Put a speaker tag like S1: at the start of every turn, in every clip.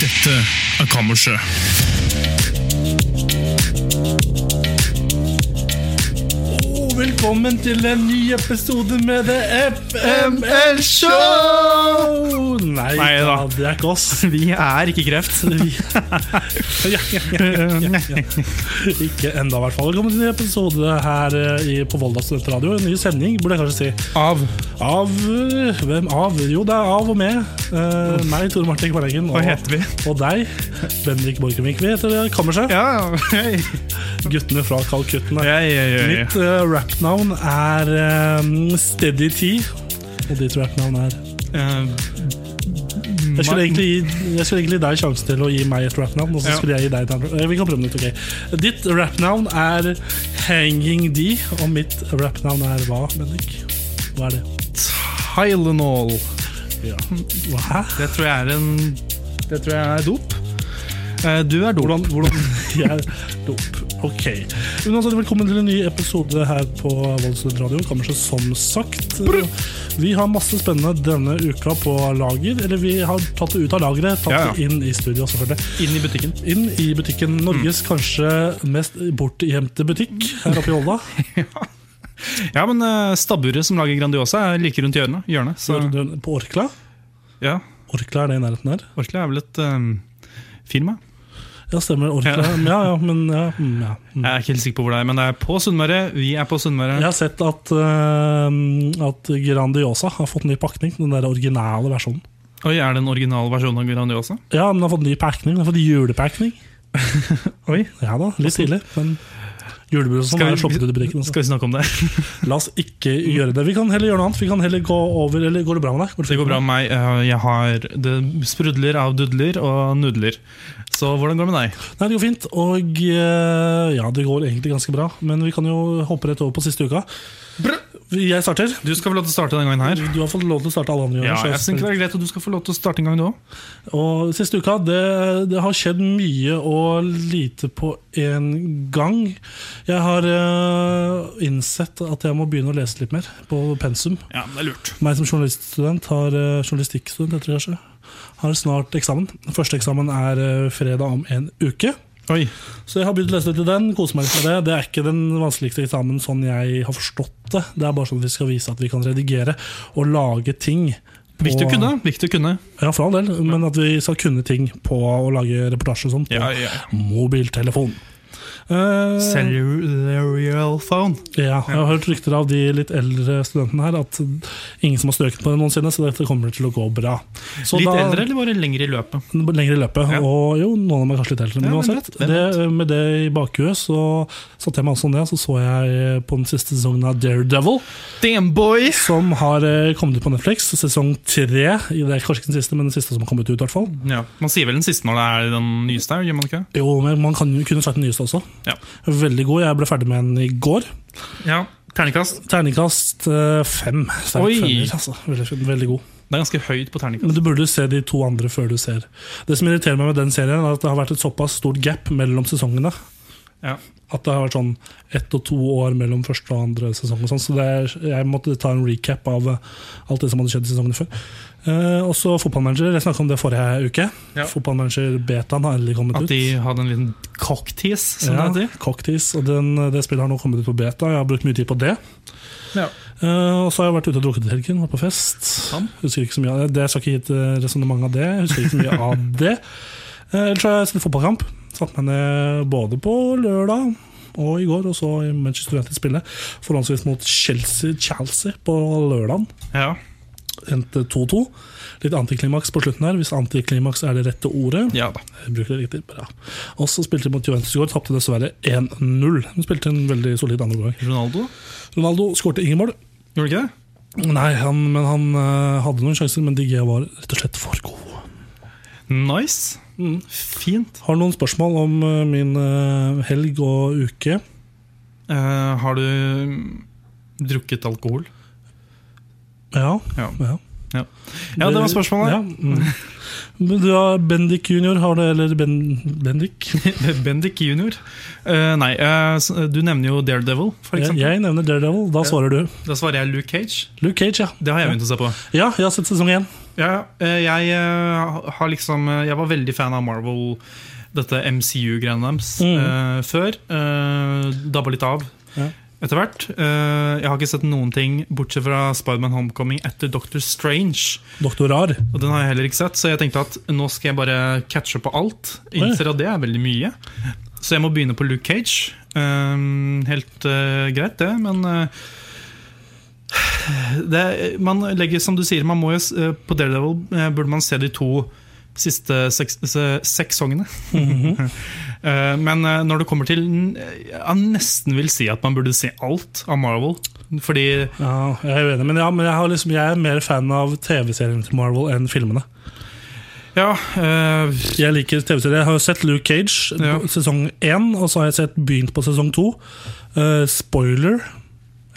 S1: Dette
S2: eh,
S1: er Kammerset. Og velkommen til en ny episode med The FML Show! Nei da, det er ikke oss.
S2: Vi er ikke kreft.
S1: Ja, ja, ja,
S2: Eh,
S1: ja, ja. Ikke enda, i hvert fall. Velkommen til en ny episode her eh, i- på Volda Studentradio. En ny sending, burde jeg kanskje si.
S2: Av
S1: Av eh, Hvem av? Jo, det er av og med. Eh, meg, Tore Martin Kvarengen.
S2: Hva heter vi?
S1: Og deg, Bendik Borchgrevink. Vi heter eh, Kammerset.
S2: Ja, hei.
S1: Guttene fra Kalkutten.
S2: Ja, ja, ja, ja.
S1: Mitt uh, rappnavn er eh, Steady T. Og ditt rappnavn er
S2: Eh, Mm,
S1: jeg skulle, egentlig, gi- jeg skulle egentlig gi deg sjansen til å gi meg et rappnavn. Og så
S2: Ja.
S1: skulle jeg gi deg et annet eh, Vi kan prøve nytt, ok Ditt rappnavn er Hanging D, og mitt rappnavn er hva, Bendik? Hva er det?
S2: Tylenol.
S1: Ja. Hæ?
S2: Det tror jeg er en Det tror jeg er dop. Eh, Du er dop. Hvordan,
S1: Jeg er dop. Ok. Men altså, velkommen til en ny episode her på Voldsnytt Radio. Kanskje som sagt. Vi har masse spennende denne uka på lager. Eller vi har tatt det ut av lageret, tatt
S2: Ja, ja.
S1: det inn i studio, selvfølgelig.
S2: Inn i butikken.
S1: Inn i butikken Norges
S2: Mm.
S1: kanskje mest bortgjemte butikk her oppe i Olda.
S2: Ja, men eh, stabburet som lager Grandiosa, er like rundt hjørnet. hjørnet så,
S1: På Orkla.
S2: ja,
S1: Orkla er det i nærheten her?
S2: Orkla er vel et eh, firma.
S1: Ja, stemmer. Orkla.
S2: Ja.
S1: Ja, ja, men ja. mm, ja. mm.
S2: Jeg er ikke helt sikker på hvor det er, men det er på Sunnmøre. Vi er på Sunnmøre.
S1: Jeg har sett at, eh, at Grandiosa har fått ny pakning. Den der originale versjonen.
S2: Oi, er det en original versjon av Grandiosa?
S1: Ja, men den har fått ny pakning. Den har fått julepakning.
S2: Oi,
S1: Ja da, litt tidlig, men julebrusen
S2: Skal
S1: er
S2: vi-
S1: sluppet ut i butikken. Altså.
S2: skal vi snakke om det?
S1: La oss ikke gjøre det. Vi kan heller gjøre noe annet. Vi kan heller gå over Eller går det bra med deg?
S2: Det går bra med meg. Eh, Jeg har, det sprudler av dudler og nudler. Så hvordan går det med deg?
S1: Nei, det går fint. Og eh, ja, det går egentlig ganske bra. Men vi kan jo hoppe rett over på siste uka. Jeg starter.
S2: Du skal få lov til å starte denne gangen her.
S1: Du har fått lov til å starte alle andre
S2: Ja,
S1: ganger. så
S2: jeg synes det er greit at du skal få lov til å starte en gang, du òg.
S1: Og siste uka, det, det har skjedd mye og lite på en gang. Jeg har eh, innsett at jeg må begynne å lese litt mer på pensum.
S2: Ja, det er lurt.
S1: Meg som journaliststudent, har, eh, journalistikkstudent heter det kanskje, har snart eksamen. Første eksamen er eh, fredag om en uke.
S2: Oi.
S1: Så jeg har begynt å lese litt i den, koser meg litt med det. Det er ikke den vanskeligste eksamen sånn jeg har forstått det. Det er bare sånn at vi skal vise at vi kan redigere og lage ting. på-
S2: Viktig å kunne. Viktig å kunne.
S1: ja, for all del, men at vi skal kunne ting på å lage reportasje og sånn på mobiltelefon. Eh,
S2: Serial phone.
S1: ja, jeg har hørt rykter av de litt eldre studentene her at ingen som har strøket på det noensinne, så dette kommer til å gå bra. Så
S2: Litt
S1: da-
S2: eldre eller bare lenger i løpet?
S1: Lenger i løpet.
S2: Ja.
S1: Og jo, noen av dem er kanskje litt eldre.
S2: Ja,
S1: Men
S2: hvem
S1: uansett,
S2: vet, hvem
S1: det, med det i bakhuet så satte jeg meg også ned, så så jeg eh, på den siste sesongen av Daredevil.
S2: Damn boy!
S1: Som har eh, kommet ut på Netflix, sesong tre. Det er kanskje ikke den siste, men den siste som har kommet ut, i hvert fall.
S2: Ja, Man sier vel den siste når det er den nyeste? gjør man ikke det?
S1: Jo, men man kan jo kunne sagt den nyeste også.
S2: Ja.
S1: Veldig god. Jeg ble ferdig med den i går.
S2: Ja, Terningkast.
S1: Terningkast eh, fem. Sterk
S2: Oi.
S1: femmer, altså. veldig, fin, veldig god.
S2: Det er ganske høyt på terningkast.
S1: Men du burde se de to andre før du ser. Det som irriterer meg med den serien, er at det har vært et såpass stort gap mellom sesongene.
S2: Ja.
S1: At det har vært sånn ett og to år mellom første og andre sesong. Og sånn, så det er, jeg måtte ta en recap av eh, alt det som hadde skjedd i sesongene før. Eh, og så fotballmanager. Jeg snakka om det forrige uke.
S2: Ja.
S1: Fotballmanager-betaen har endelig kommet
S2: At
S1: ut.
S2: de hadde en liten cocktease, som
S1: ja,
S2: det
S1: Cocktease, og den, det spillet har nå kommet ut på beta. Jeg har brukt mye tid på det.
S2: heter. Ja.
S1: Eh, og så har jeg vært ute og drukket i helgen, vært på fest.
S2: Sånn.
S1: Husker ikke så mye av det. det jeg skal ikke gi et resonnement av det. Husker ikke så mye av det. Eh, ellers har jeg spilt fotballkamp. Satt meg ned både på lørdag og i går, og så i Manchester United spille. Forholdsvis mot Chelsea, Chelsea på lørdag.
S2: ja.
S1: Endte 2-2. Litt antiklimaks på slutten her, hvis antiklimaks er det rette ordet.
S2: Ja da.
S1: Jeg bruker det riktig, bra. Og så spilte de mot Juventus i går, tapte dessverre 1-0. De spilte en veldig solid andre gang.
S2: Ronaldo?
S1: Ronaldo skårte ingen mål.
S2: Gjorde du ikke det?
S1: Nei, han, men han eh, hadde noen sjanser, men DG var rett og slett for god.
S2: Nice. Fint.
S1: Har du noen spørsmål om eh, min eh, helg og uke?
S2: Eh, har du drukket alkohol?
S1: Ja.
S2: Ja.
S1: ja.
S2: Ja, det var spørsmålet.
S1: Ja, mm. Men Du har Bendik junior, har du Eller ben, Bendik?
S2: Bendik junior. Eh, nei, eh, s- du nevner jo Daredevil, for
S1: Jeg,
S2: eksempel.
S1: jeg nevner Daredevil, da svarer du.
S2: Da svarer jeg Luke Cage.
S1: Luke Cage, ja.
S2: Det har jeg begynt å se på.
S1: Ja, jeg har sett sesong én.
S2: Ja, eh, jeg eh, har liksom eh, Jeg var veldig fan av Marvel, dette MCU-greiene deres,
S1: Mm.
S2: eh, før. Uh, Dabba litt av
S1: Ja.
S2: etter hvert. Eh, jeg har ikke sett noen ting bortsett fra Spiderman Homecoming etter Doctor Strange.
S1: Doktor Rar.
S2: Og den har jeg heller ikke sett, så jeg tenkte at nå skal jeg bare catche på alt. Innser at det er veldig mye. Så jeg må begynne på Luke Cage. Ehm, helt eh, greit, det, men eh, det, er- Man legger, som du sier, man må jo s- eh, på Daredevil eh, burde man se de to siste seks, se- sesongene. Eh, men eh, når det kommer til n- Jeg nesten vil si at man burde se alt av Marvel. Fordi
S1: Ja, jeg er uenig, men, ja, men jeg, har liksom, jeg er mer fan av TV-serien til Marvel enn filmene.
S2: Ja, eh,
S1: Jeg liker TV-serier. Jeg har jo sett Luke Cage,
S2: Ja.
S1: sesong én, og så har jeg sett begynt på sesong to. Eh, spoiler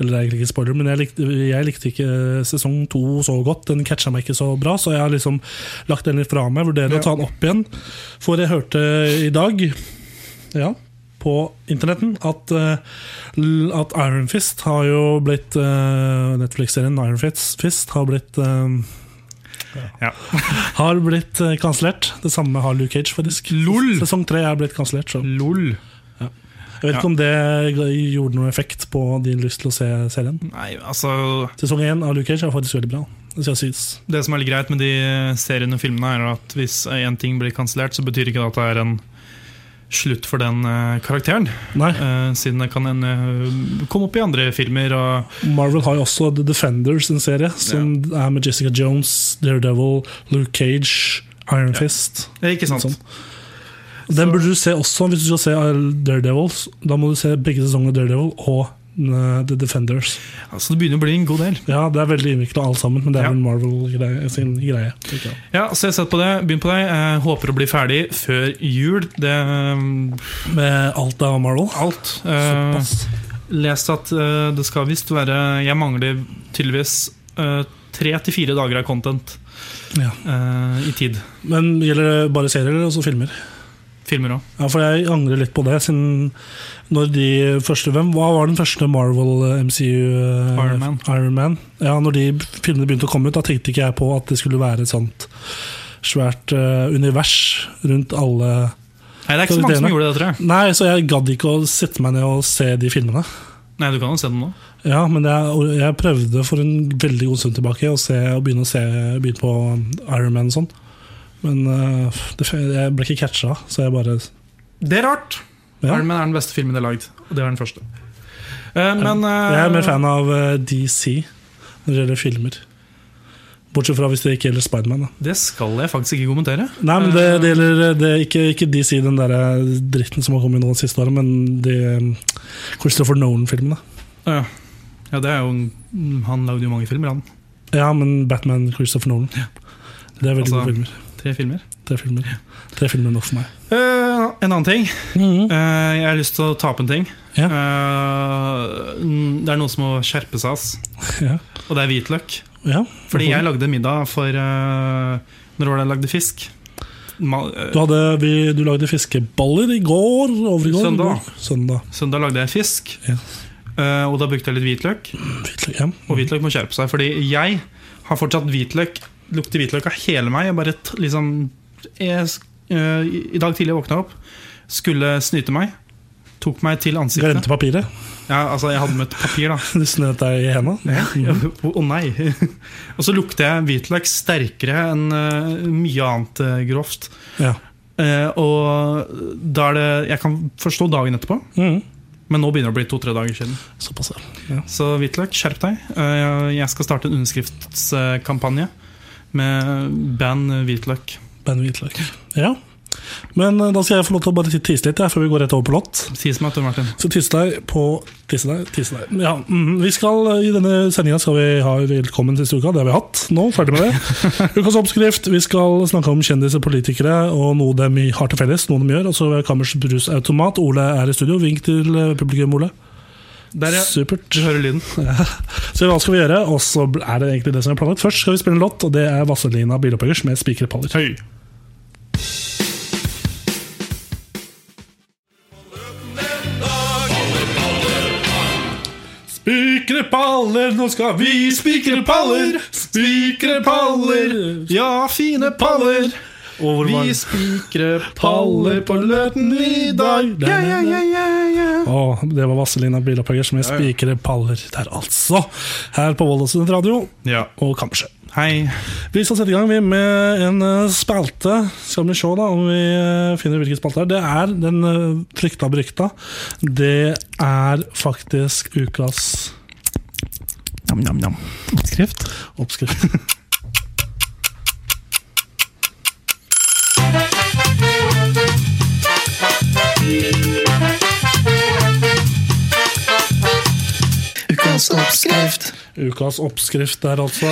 S1: Eller det er egentlig ikke spoiler, men jeg likte, jeg likte ikke eh, sesong to så godt. Den catcha meg ikke så bra, så jeg har liksom lagt den litt fra meg. Vurderer
S2: Ja.
S1: å ta den opp igjen. For jeg hørte i dag Ja på internetten at, eh, l- at Iron Fist har jo blitt eh, Netflix-serien Iron Fist, Fist har blitt eh,
S2: ja.
S1: har blitt eh, kansellert. Det samme har Luke Cage, faktisk.
S2: Lol.
S1: Sesong tre er blitt kansellert. så Jeg
S2: LOL.
S1: vet ikke om det gjorde noen effekt på din lyst til å se serien.
S2: Nei, altså
S1: Sesong én av Luke Cage er faktisk veldig bra. Det skal sies.
S2: Det som er litt greit med de seriene og filmene, er at hvis én ting blir kansellert, så betyr ikke det at det er en slutt for den eh, karakteren.
S1: Nei,
S2: Eh, siden det kan en, eh, komme opp i andre filmer. Og,
S1: Marvel har jo også The Defenders, en serie som er med Jessica Jones, Daredevil, Luke Cage, Iron Fist.
S2: eh, ikke sant?
S1: Sånn. Den burde du se også hvis du skal se Daredevils. Da må du se begge sesongene av Daredevil og eh, The Defenders.
S2: Altså, det begynner å bli en god del.
S1: Ja, Det er veldig innvikla alt sammen, men det
S2: Ja.
S1: er vel Marvel grei- sin greie. tenker jeg.
S2: Ja, så jeg har sett på det. Begynn på det. Jeg håper å bli ferdig før jul. Det eh,
S1: Med alt av Marvel?
S2: alt. Eh,
S1: Såpass.
S2: lest at eh, det skal visst være Jeg mangler tydeligvis eh, tre til fire dager av content
S1: Ja.
S2: eh, i tid.
S1: Men gjelder det bare serier eller også filmer?
S2: Filmer òg.
S1: Ja, for jeg angrer litt på det, siden når de første Hvem hva var den første Marvel eh, MCU eh,
S2: Iron Man.
S1: Iron Man? Ja, når de filmene begynte å komme ut, da tenkte ikke jeg på at det skulle være et sånt svært eh, univers rundt alle
S2: Nei, det er ikke så
S1: Skal vi
S2: mange som
S1: dele?
S2: gjorde det, tror jeg.
S1: Nei, så jeg gadd ikke å sette meg ned og se de filmene.
S2: Nei, du kan jo se den nå.
S1: Ja, men jeg, jeg prøvde for en veldig god stund tilbake å, se, å begynne å se begynne på Iron Man og sånn. Men eh, det, jeg ble ikke catcha, så jeg bare
S2: Det er rart.
S1: Ja.
S2: Iron Man er den beste filmen det er lagd. Og det er den første. Eh, men eh,
S1: Jeg er mer fan av eh, DC når det gjelder filmer. Bortsett fra hvis det ikke gjelder Spiderman. da.
S2: det skal jeg faktisk ikke kommentere.
S1: Nei, men det, det gjelder eh, det, er ikke, ikke DC, den der eh, dritten som har kommet nå det siste året, men de eh, Christopher Nolan-filmene.
S2: Eh, ja, det er jo mm, Han lagde jo mange filmer, han.
S1: Ja, men Batman Christopher Nolan. Det er veldig
S2: Altså-
S1: gode filmer.
S2: Tre filmer.
S1: Tre filmer Tre filmer er nok for meg.
S2: Eh, en annen ting. Eh, jeg har lyst til å ta opp en ting.
S1: Ja.
S2: Eh, mm, det er noen som må skjerpe seg, ass.
S1: Ja.
S2: Og det er hvitløk.
S1: Ja.
S2: Fordi jeg lagde middag for eh, Når var det jeg lagde fisk? Ma eh,
S1: Du, hadde, vi, du lagde fiskeboller i går? Over i går
S2: Søndag.
S1: i går. Søndag.
S2: søndag lagde jeg fisk,
S1: Ja.
S2: Eh, og da brukte jeg litt hvitløk.
S1: Hvitløk, ja.
S2: Og hvitløk må skjerpe seg, fordi jeg har fortsatt hvitløk Lukter hvitløk av hele meg. Jeg bare t liksom jeg, s- eh, I dag tidlig jeg våkna opp, skulle snyte meg. Tok meg til ansiktet.
S1: Glemte papiret.
S2: Ja, altså, jeg hadde med et papir, da.
S1: Du snøt deg i henda.
S2: Ja, Å nei! Og så lukter jeg hvitløk sterkere enn eh, mye annet eh, grovt.
S1: Ja.
S2: Eh, og da er det Jeg kan forstå dagen etterpå,
S1: Mhm.
S2: men nå begynner det å bli to-tre dager siden.
S1: Såpass, ja. ja.
S2: Så hvitløk, skjerp deg. Eh, Jeg skal starte en underskriftskampanje med band hvitløk.
S1: Ben hvitløk. Ja. Men eh, da skal jeg få lov til å bare tisse litt, jeg, før vi går rett over på låt.
S2: Tis meg, Tor Martin.
S1: Så tisse deg på Tisse deg, tisse deg. Ja, mhm. vi skal, I denne sendinga skal vi ha Velkommen siste uka. Det har vi hatt nå. Ferdig med det. Ukas oppskrift. Vi skal snakke om kjendiser, politikere og noe de har til felles. Noe de gjør. Og så Kammers brusautomat. Ole er i studio. Vink til eh, publikum, Ole.
S2: Der, ja.
S1: Supert.
S2: Du hører lyden.
S1: Så hva skal vi gjøre? Og så er det egentlig det som er planlagt. Først skal vi spille en låt, og det er Vazelina Bilopphøggers med Spikerpaller.
S2: Høy.
S1: Spikre paller, nå skal
S2: Vi spikrer paller, spikrer paller, ja, fine paller.
S1: Og hvor var
S2: Vi
S1: den?
S2: spikrer paller på løten i dag. Ja, ja, ja, ja, ja.
S1: Å, det var Vazelina Bilopphøggers med Spikre paller der, altså. Her på Volda Student Radio,
S2: ja.
S1: og kanskje.
S2: Hei.
S1: Vi skal sette i gang vi, med en eh, spalte. Skal vi se da om vi eh, finner hvilken spalte det er. Det er den eh, frykta brykta. Det er faktisk ukas
S2: Nam-nam-nam. Oppskrift?
S1: oppskrift.
S2: Ukas oppskrift.
S1: Ukas oppskrift der, altså.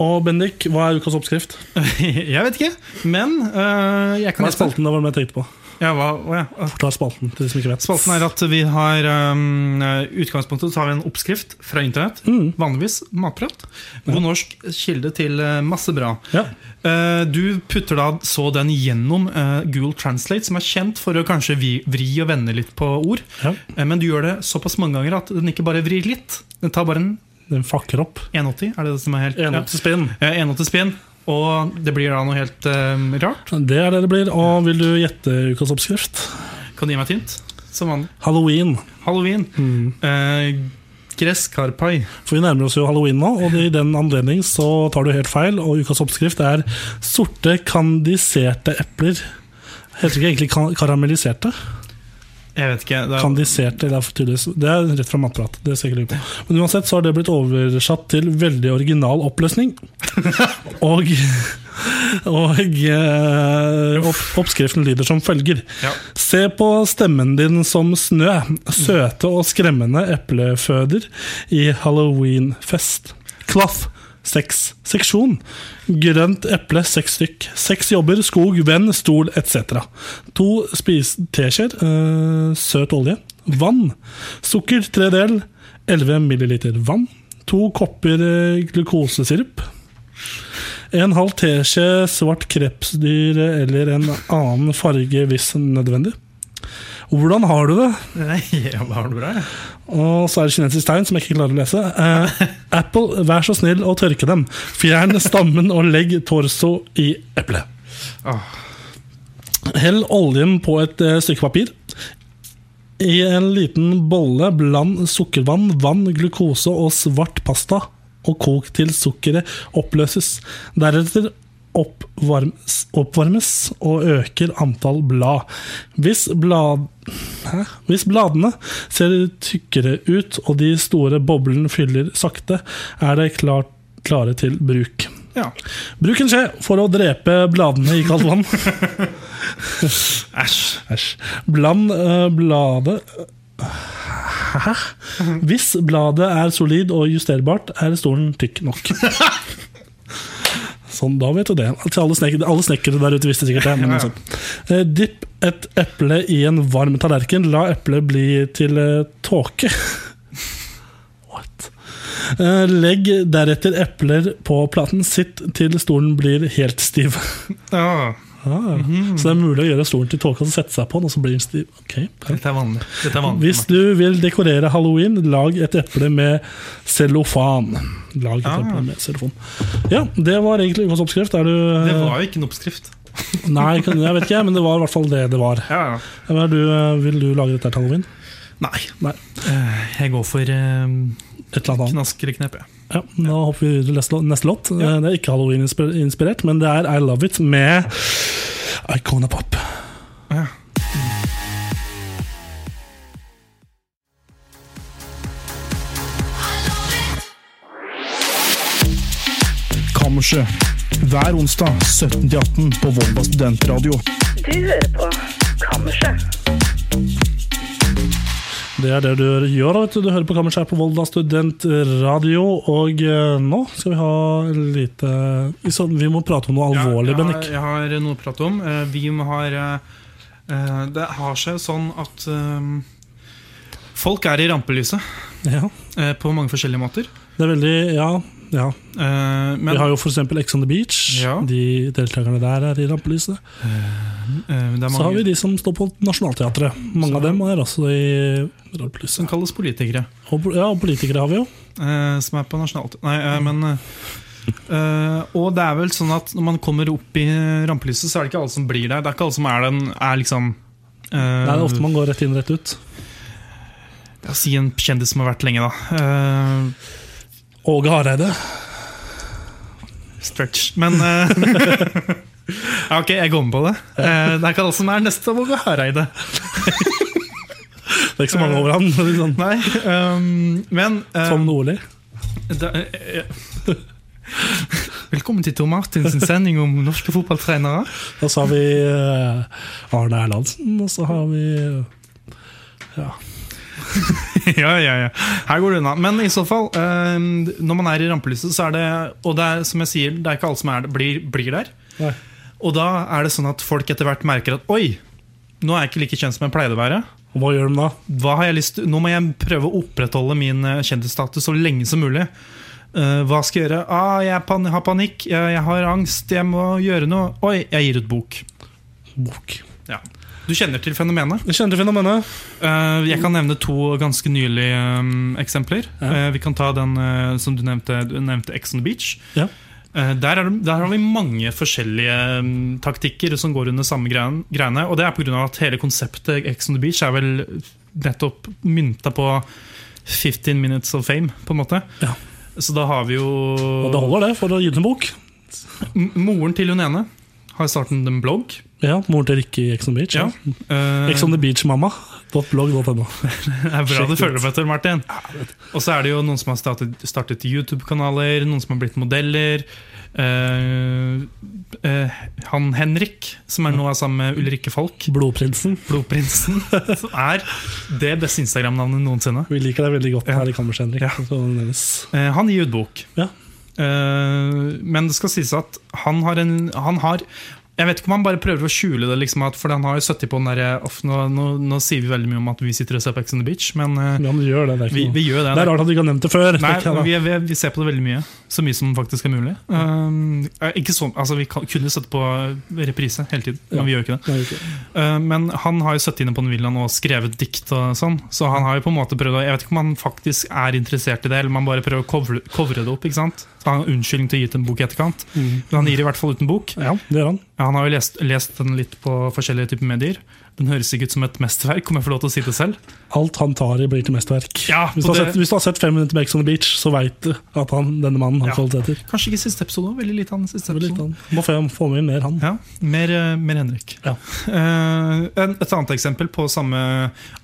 S1: Og Bendik, hva er ukas oppskrift?
S2: jeg vet ikke, men øh, jeg kan
S1: Hva er spalten? Det var det jeg tenkte på.
S2: Ja, hva, å, ja.
S1: Forklar spalten til de som ikke vet.
S2: Spalten er at vi har um, utgangspunktet så har vi en oppskrift fra internett.
S1: Mm.
S2: Vanligvis matprat. God norsk kilde til eh, masse bra.
S1: Ja.
S2: Eh, du putter da så den gjennom eh, Google Translate, som er kjent for å kanskje vi, vri og vende litt på ord.
S1: ja.
S2: Eh, men du gjør det såpass mange ganger at den ikke bare vrir litt. Den tar bare en
S1: Den fakker opp.
S2: 180, er det det som er helt
S1: Enig til spinn.
S2: Ja. Eh, 180 spinn. Og det blir da noe helt eh, rart.
S1: Det er det det blir. Og vil du gjette ukas oppskrift?
S2: Kan du gi meg et hint? Som vanlig.
S1: Halloween.
S2: Halloween.
S1: Mm.
S2: Eh, Gresskarpai.
S1: For vi nærmer oss jo halloween nå, og i den anledning så tar du helt feil. Og ukas oppskrift er sorte kandiserte epler. Heter det ikke egentlig kan- karamelliserte?
S2: Jeg vet ikke. Det er,
S1: Kandiserte, det er for tydeligvis Det er rett fra matprat. Det skal jeg ikke lure på. Men uansett så har det blitt oversatt til veldig original oppløsning. Og og eh, opp, oppskriften lyder som følger.
S2: Ja.
S1: Se på stemmen din som snø. Søte og skremmende epleføder i halloweenfest. Klaff. Seks. Seksjon. Grønt eple, seks stykk. Seks jobber, skog, venn, stol etc. To spis teskjeer. eh, søt olje. Vann. Sukker, tre del. 11 milliliter vann. To kopper eh, glukosesirup. En halv teskje svart krepsdyr eller en annen farge hvis nødvendig. Hvordan har du det?
S2: Nei, ja, hva har du bra? jeg?
S1: Og så er det kinesisk tegn som jeg ikke klarer å lese. Eh, Apple, vær så snill å tørke dem. Fjern stammen og legg torso i eplet.
S2: Åh,
S1: Hell oljen på et eh, stykke papir. I en liten bolle bland sukkervann, vann, glukose og svart pasta, og kok til sukkeret oppløses. Deretter oppvarmes, oppvarmes og øker antall blad. Hvis, blad Hæ? Hvis bladene ser tykkere ut, og de store boblene fyller sakte, er de klart, klare til bruk.
S2: ja.
S1: Bruk en skje for å drepe bladene i kaldt vann.
S2: Æsj.
S1: Æsj. Bland eh, bladet Hæ? Hvis bladet er solid og justerbart, er stolen tykk nok. Sånn, da vet du det. Til alle, snekker, alle snekkere der ute visste sikkert det. Men
S2: Ja, ja.
S1: sånn. Eh, Dipp et eple i en varm tallerken. La eplet bli til eh, tåke. What? Eh, Legg deretter epler på platen. Sitt til stolen blir helt stiv.
S2: Åh,
S1: Ah, Så det er mulig å gjøre stolen til tåka og sette seg på den, og så blir den stiv. Ok, ja.
S2: dette Mhm. er vanlig. Dette er vanlig.
S1: Hvis du vil dekorere halloween, lag et eple med cellofan. Lag et
S2: Ah.
S1: eple med cellofan. Ja, det var egentlig ukas oppskrift. Er du
S2: Det var jo ikke en oppskrift.
S1: Nei, kan- jeg vet ikke, men det var i hvert fall det det var.
S2: Ja, ja.
S1: Hva er du, vil du lage dette her til halloween?
S2: Nei.
S1: Nei.
S2: Eh, Jeg går for eh,
S1: Et eller annet annet.
S2: knaskerknep, jeg.
S1: Ja, da hopper vi videre til neste låt- neste låt.
S2: Ja.
S1: Eh, Det er ikke halloween-inspirert, men det er I Love It med Icona Pop.
S2: Ja. Kammerset.
S3: Hver onsdag 17-18 på Volda studentradio.
S4: Du hører på Kammerset.
S1: Det er det du gjør. da, Vet du. du hører på Kammerset på Volda studentradio. Og eh, nå skal vi ha en lite så Vi må prate om noe alvorlig,
S2: jeg, har-
S1: Bennik.
S2: jeg har noe å prate om. Eh, Vi har eh, eh, Det har seg sånn at eh, folk er i rampelyset
S1: Ja.
S2: eh, på mange forskjellige måter.
S1: Det er veldig Ja. ja.
S2: Eh, Men
S1: vi har jo f.eks. Ex on the Beach.
S2: Ja.
S1: De deltakerne der er i rampelyset.
S2: eh, det er
S1: Så har vi
S2: mange
S1: de som står på Nationaltheatret. Mange av dem er også i rampelyset.
S2: som kalles politikere.
S1: Og, pol- ja, og politikere har vi jo.
S2: eh, som er på nasjonalt Nei, eh, men eh, eh, Og det er vel sånn at når man kommer opp i rampelyset, så er det ikke alle som blir der. Det er ikke alle som er den er liksom eh,
S1: Det er ofte man går rett inn, rett ut.
S2: ja, Si en kjendis som har vært lenge, da. Eh,
S1: Åge Hareide.
S2: stretch. Men eh, ja, Ok, jeg går med på det. Eh, det er ikke alle som er neste Våge Hareide.
S1: Det er ikke så mange over ham. men Sånn.
S2: Nei, ehm, men eh,
S1: Tom Nordli.
S2: da, eh, eh, Velkommen til Tor Martins sending om norske fotballtrenere.
S1: Og så har vi eh, Arne Erlandsen, og så har vi
S2: ja, ja, ja. Her går det unna. Men i så fall, eh, når man er i rampelyset, så er det Og det er, som jeg sier, det er ikke alle som er, blir, blir der.
S1: Nei.
S2: Og da er det sånn at folk etter hvert merker at Oi, nå er jeg ikke like kjent som jeg pleide å være.
S1: Og hva gjør de da?
S2: Hva har jeg lyst til? Nå må jeg prøve å opprettholde min eh, kjendisstatus så lenge som mulig. Eh, hva skal jeg gjøre? Ah, jeg pan har panikk, jeg, jeg har angst, jeg må gjøre noe. Oi, jeg gir ut bok.
S1: Bok.
S2: Ja. Du kjenner til fenomenet?
S1: Jeg kjenner til fenomenet.
S2: Eh, jeg kan nevne to ganske nylige eh, eksempler.
S1: Mm. Ja.
S2: Eh, vi kan ta den eh, som du nevnte, du nevnte Ex on the Beach.
S1: Ja.
S2: Eh, der, er, det- der har vi mange forskjellige eh, taktikker som går under samme greien- greiene. Og det er pga. at hele konseptet Ex on the Beach er vel nettopp mynta på 15 minutes of fame, på en måte.
S1: Ja.
S2: Så da har vi
S1: Og det
S2: jo
S1: holder, det, for å gi ut en bok.
S2: M- Moren til hun ene har startet en blogg.
S1: Ja, Moren til Rikke i Ex on the Beach. Ja.
S2: Ja. Eh,
S1: Ex on the Beach-mamma. Blogg.no.
S2: Det er bra
S1: Sjekk
S2: du
S1: ut.
S2: følger med etter, Martin. Og så er det jo noen som har startet, startet YouTube-kanaler, noen som har blitt modeller. Eh, eh, han Henrik, som er nå er sammen med Ulrikke Falk,
S1: Blodprinsen.
S2: Blodprinsen, som er det beste Instagram-navnet noensinne.
S1: Vi liker deg veldig godt
S2: Ja.
S1: her i kammerset, Henrik.
S2: Ja.
S1: Så det nevnes.
S2: Eh, han gir ut bok.
S1: Ja.
S2: Eh, men det skal sies at han har en han har, Jeg vet ikke om han bare prøver å skjule det, liksom, at, for han har jo 70 på den derre «Off, nå, nå, nå sier vi veldig mye om at vi sitter og ser på Ex on the Beach, men eh,
S1: Ja, men gjør det. Det er, ikke
S2: vi,
S1: noe.
S2: vi gjør det.
S1: det er rart at du ikke har nevnt det før. tenker jeg da.
S2: Nei, vi, vi, vi ser på det veldig mye. Så mye som faktisk er mulig. Um, eh, ikke sånn, altså Vi kan, kunne sett på eh, reprise hele tiden, men
S1: Ja.
S2: vi gjør ikke det.
S1: Nei, ikke.
S2: Uh, men han har jo sittet inne på den villaen og skrevet dikt, og sånn så han har jo på en måte prøvd å Jeg vet ikke om han faktisk er interessert i det, eller om han bare prøver å covre, covre det opp. ikke sant? Så han har unnskyldning til å gi ut en bok i etterkant. Men han gir i hvert fall ut en bok.
S1: Ja, det gjør han.
S2: Ja, han har jo lest, lest den litt på forskjellige typer medier. Den høres ikke ut som et mesterverk, om jeg får lov til å si det selv.
S1: Alt han tar i, blir til mesterverk.
S2: Ja,
S1: hvis, du
S2: og
S1: har
S2: det-
S1: sett, hvis du har sett Fem minutter med Ex on the Beach, så veit du at han, denne mannen har
S2: Ja.
S1: falt etter.
S2: Kanskje ikke siste episode, veldig lite av den siste
S1: Det var
S2: episoden.
S1: litt han. Må få, få med mer han.
S2: Ja, mer, eh, mer Henrik.
S1: Ja.
S2: Eh, en, et annet eksempel på samme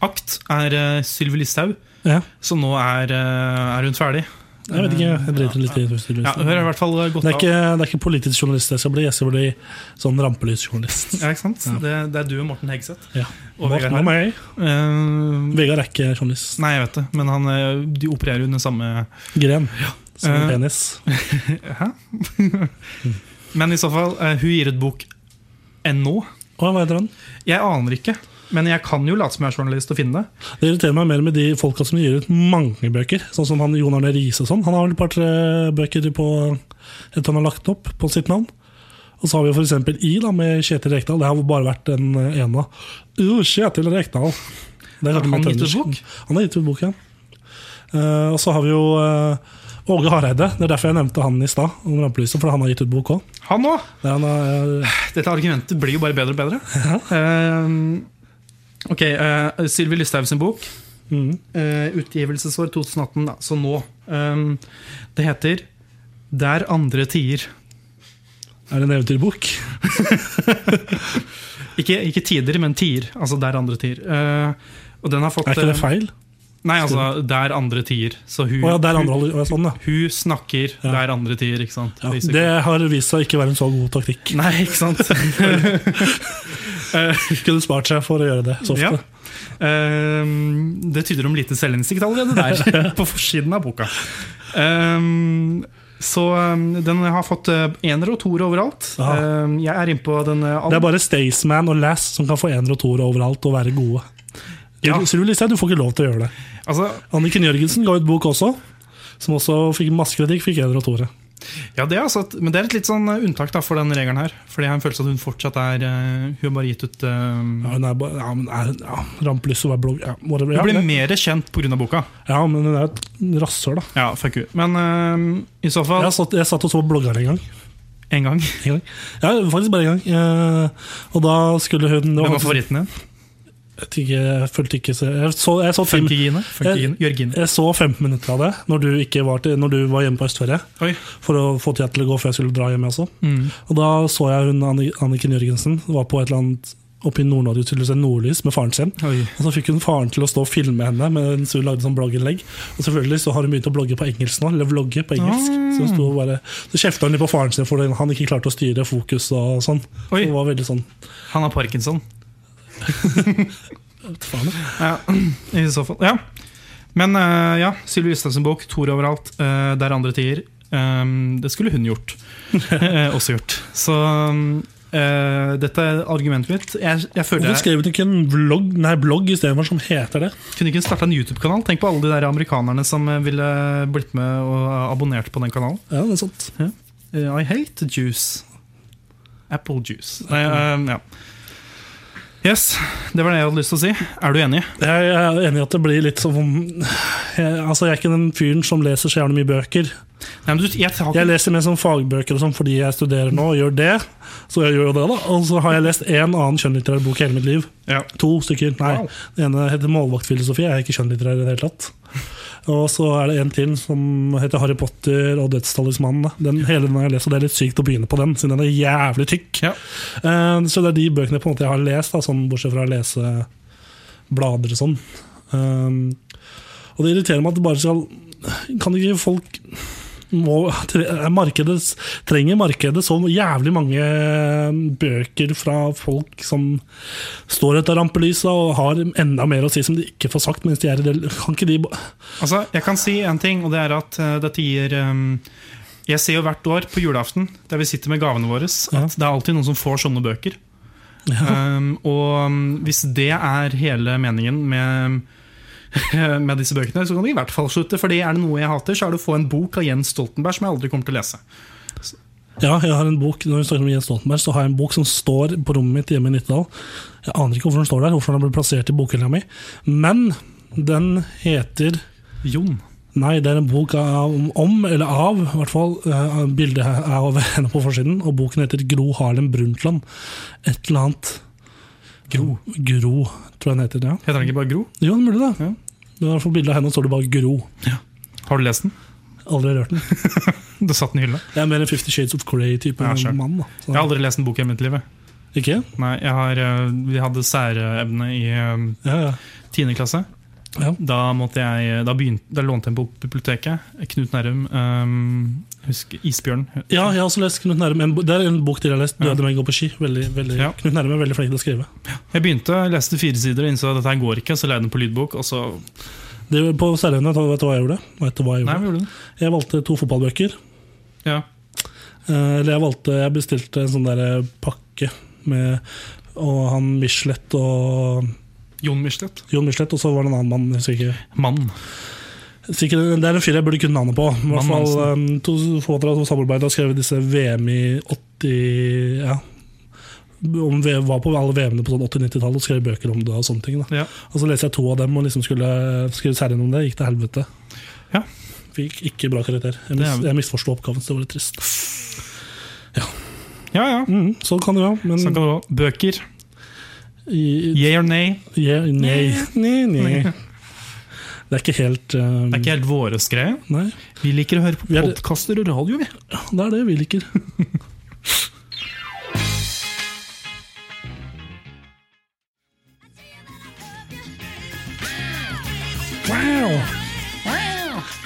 S2: akt er uh, Sylvi Listhaug,
S1: Ja.
S2: som nå er, eh, er hun ferdig.
S1: Jeg vet ikke, jeg driter litt i det. hvis du
S2: Eh, Ja, hun har i
S1: lyst.
S2: hvert fall gått
S1: Det er,
S2: av.
S1: ikke, det er ikke politisk journalist jeg skal bli, jeg skal bli sånn rampelysjournalist.
S2: Ja, ikke sant? Det, det er du og Morten Hegseth.
S1: Ja.
S2: Og Vegard
S1: Morten og
S2: Harm.
S1: meg.
S2: Eh,
S1: Vegard er ikke journalist.
S2: nei, jeg vet det, men han, eh, de opererer under samme
S1: Gren. Som en
S2: Eh.
S1: penis.
S2: Hæ? men i så fall, eh, hun gir ut bok ennå.
S1: Å, hva heter han?
S2: Jeg aner ikke, men jeg kan jo late som jeg er journalist og finne det.
S1: Det irriterer meg mer med de folka som gir ut mange bøker. Sånn som han Jon Arne Riise og sånn. Han har vel et par-tre bøker på et han har lagt opp på sitt navn. Og så har vi for eksempel I da, med Kjetil Rekdal. Det har bare vært den ene. Uh, Kjetil Rekdal. Det er
S2: Har
S1: kanskje
S2: han
S1: litt
S2: gitt ut
S1: trøndersk.
S2: bok?
S1: Han har gitt ut bok, ja. Eh, og så har vi jo eh, Åge Hareide. Det er derfor jeg nevnte han i stad, om rampelyset. For han har gitt ut bok òg.
S2: Han òg!
S1: Han har, eh,
S2: Dette argumentet blir jo bare bedre og bedre. Eh, ok, uh, Sylvi Listhaug sin bok.
S1: Mhm.
S2: eh, utgivelsesår 2018, da, så nå. Eh, det heter 'Der andre tier'.
S1: er det en eventyrbok?
S2: Ikke, ikke tider, men tier. Altså 'Der andre tier'. Eh, og den har fått
S1: Er ikke det
S2: eh,
S1: feil?
S2: Nei, altså, det er andre tier. Så hun,
S1: Å ja, der
S2: hun,
S1: andre holder, å ja, sånn, ja.
S2: hun snakker,
S1: Ja.
S2: det er andre tier, ikke sant?
S1: Ja,
S2: Basically.
S1: det har vist seg å ikke være en så god taktikk.
S2: Nei, ikke sant? Eh,
S1: Skulle spart seg for å gjøre det så
S2: ja.
S1: ofte.
S2: Ehm, det tyder om lite selvinnsikt allerede der, på forsiden av boka. Ehm, så ehm, den har fått eh, enere og toere overalt.
S1: Ja.
S2: Ehm, jeg er inne på den eh, all-
S1: Det er bare Staysman og Lass som kan få ener og toer overalt og være gode.
S2: Ja.
S1: Sylvi Listhaug, du får ikke lov til å gjøre det.
S2: altså,
S1: Anniken Jørgensen ga ut bok også, som også fikk masse kritikk, fikk ener og toere.
S2: Ja, det er altså et, Men det er et litt sånn eh, unntak da, for den regelen her. Fordi jeg har en følelse at hun fortsatt er eh, Hun har bare gitt ut eh,
S1: Ja, hun er bare- ja, men er, ja, rampelys og er blogg ja, whatever.
S2: Hun
S1: ja,
S2: blir
S1: det-
S2: mer kjent pga. boka.
S1: ja, men hun er et rasshøl, da.
S2: Ja, fuck you. Men eh, i så fall
S1: Jeg satt, jeg satt og så bloggeren en gang.
S2: en gang.
S1: En gang. Ja, faktisk bare en gang. Eh, og da skulle hun
S2: Hvem var favoritten din?
S1: Jeg, vet ikke, jeg følte ikke så Jeg så, jeg så, fem, Eh,
S2: Funkygine? Funkygine? Jørgine?
S1: jeg så 15 minutter av det når du, ikke var, til, når du var hjemme på Østferie.
S2: Oi.
S1: For å få tida til å gå før jeg skulle dra hjem. jeg Også.
S2: Mm.
S1: Og da så jeg hun Anni- Anniken Jørgensen var på et eller annet oppe i Nord-Norge, tydeligvis en nordlys, med faren sin.
S2: Oi.
S1: Og så fikk hun faren til å stå og filme henne mens hun lagde sånn blogginnlegg. Og selvfølgelig så har hun begynt å blogge på engelsk nå. Eller vlogge på engelsk Så hun sto og bare Så kjefta hun litt på faren sin fordi han ikke klarte å styre fokus og sånn.
S2: Oi.
S1: Så det var veldig sånn
S2: Han har parkinson.
S1: faen, ja.
S2: Ja, i så fall. Ja. Men eh, ja, Sylvi Listhaug sin bok, Tor overalt, eh, det er andre tider. Ehm, det skulle hun gjort. Eh, også gjort. Så eh, dette er argumentet mitt. Jeg, jeg føler
S1: Hvorfor
S2: jeg
S1: skrev hun ikke en vlogg, nei, blogg istedenfor, som heter det?
S2: kunne ikke starta en YouTube-kanal. Tenk på alle de der amerikanerne som eh, ville blitt med og abonnert på den kanalen.
S1: Ja, det er sant.
S2: Eh, I hate juice. Apple juice. Nei, eh, ja. Yes, det var det jeg hadde lyst til å si. Er du enig?
S1: Jeg er enig i at det blir litt som jeg, Altså, jeg er ikke den fyren som leser så jævlig mye bøker.
S2: Nei, men du, jeg har ikke
S1: Jeg leser mer som fagbøker og sånn fordi jeg studerer nå og gjør det. Så jeg gjør jo det, da. Og så har jeg lest én annen kjønnlitterær bok i hele mitt liv.
S2: ja.
S1: To stykker. Nei,
S2: Wow.
S1: Den ene heter 'Målvaktfilosofi'. Jeg er ikke kjønnlitterær i det hele tatt. Og så er det en til som heter 'Harry Potter og dødstalismanen'. Den hele den har jeg lest, og det er litt sykt å begynne på den, siden den er jævlig tykk.
S2: Ja.
S1: Eh, Så det er de bøkene på en måte jeg har lest, da, sånn, bortsett fra å lese blader og sånn. Um, og det irriterer meg at det bare skal Kan ikke folk må, tre, markedet, Trenger markedet så jævlig mange bøker fra folk som står etter rampelyset og har enda mer å si som de ikke får sagt mens de er i det Kan ikke de ba-
S2: Altså, jeg kan si en ting, og det er at eh, dette gir ehm, Jeg ser jo hvert år på julaften, der vi sitter med gavene våre, at
S1: Ja.
S2: det er alltid noen som får sånne bøker. Ehm, og ehm, hvis det er hele meningen med med disse bøkene, så kan de i hvert fall slutte. Fordi er det noe jeg hater, så er det å få en bok av Jens Stoltenberg som jeg aldri kommer til å lese.
S1: Ja, jeg har en bok Når vi snakker om Jens Stoltenberg, så har jeg en bok som står på rommet mitt hjemme i Nittedal. Jeg aner ikke hvorfor den står der, hvorfor den har blitt plassert i bokhylla mi. Men den heter
S2: Jon.
S1: Nei, det er en bok av, om, eller av, i hvert fall. eh, Bildet er av henne på forsiden, og boken heter Gro Harlem Brundtland. Et eller annet Gro. Gro, tror jeg den heter. ja.
S2: Heter den ikke bare Gro?
S1: Jo, det er mulig, det.
S2: Ja.
S1: Men I hvert fall bildet av henne står det bare Gro.
S2: Har du lest den?
S1: Aldri rørt den.
S2: Du satt den i hylla.
S1: Jeg er mer en Fifty Shades of Grey-type
S2: Ja, sure.
S1: mann. da. Så-
S2: Jeg har aldri lest en bok i mitt liv. jeg.
S1: Ikke?
S2: Nei, jeg har, eh, vi hadde særeevne i ehm,
S1: Ja, ja.
S2: 10. klasse.
S1: Ja.
S2: Da, måtte jeg, da, begynte, da lånte jeg den på biblioteket. Knut Nærum. Um, husk Isbjørn.
S1: Ja, jeg har også lest Knut Nærum. En bo- Det er en bok til jeg har lest. 'Døde menn går på ski'. Veldig, veldig,
S2: Ja.
S1: Knut Nærum er veldig flink til å skrive.
S2: Jeg begynte, leste fire sider og innså at dette her går ikke, så leide den på lydbok. Og så
S1: Det, på seriene, vet du hva jeg gjorde? Vet du hva jeg,
S2: Nei,
S1: gjorde?
S2: vi gjorde den.
S1: jeg valgte to fotballbøker.
S2: Ja.
S1: Eh, Eller jeg valgte Jeg bestilte en sånn der eh, pakke med og han Michelet og
S2: Jon Michelet.
S1: Jon Michelet, og så var det en annen mann. jeg husker ikke.
S2: Mann.
S1: Sikkert, det er en fyr jeg burde kunne navnet på. I hvert
S2: Mann
S1: fall eh, To forfattere som samarbeidet og skrev disse VM i 80 Ja. Om v, var på alle VM-ene på sånn 80-90-tallet og skrev bøker om det. Og sånne ting da.
S2: Ja.
S1: Og så leste jeg to av dem og liksom skulle skrive serien om det. Gikk til helvete.
S2: Ja.
S1: Fikk ikke bra karakter. Jeg,
S2: Det
S1: mis,
S2: er-
S1: jeg misforsto oppgaven, så det var litt trist.
S2: ja, ja.
S1: Mm, sånn kan det være. Men
S2: Sånn kan det gå. Bøker.
S1: i,
S2: Yeah or nay.
S1: Ja, nei. Nei, nei. Det er ikke helt um,
S2: Det er ikke helt våres greie.
S1: Nei,
S2: Vi liker å høre på
S1: Vi er-
S2: podkaster og radio, vi.
S1: det er det vi liker.
S2: Wow!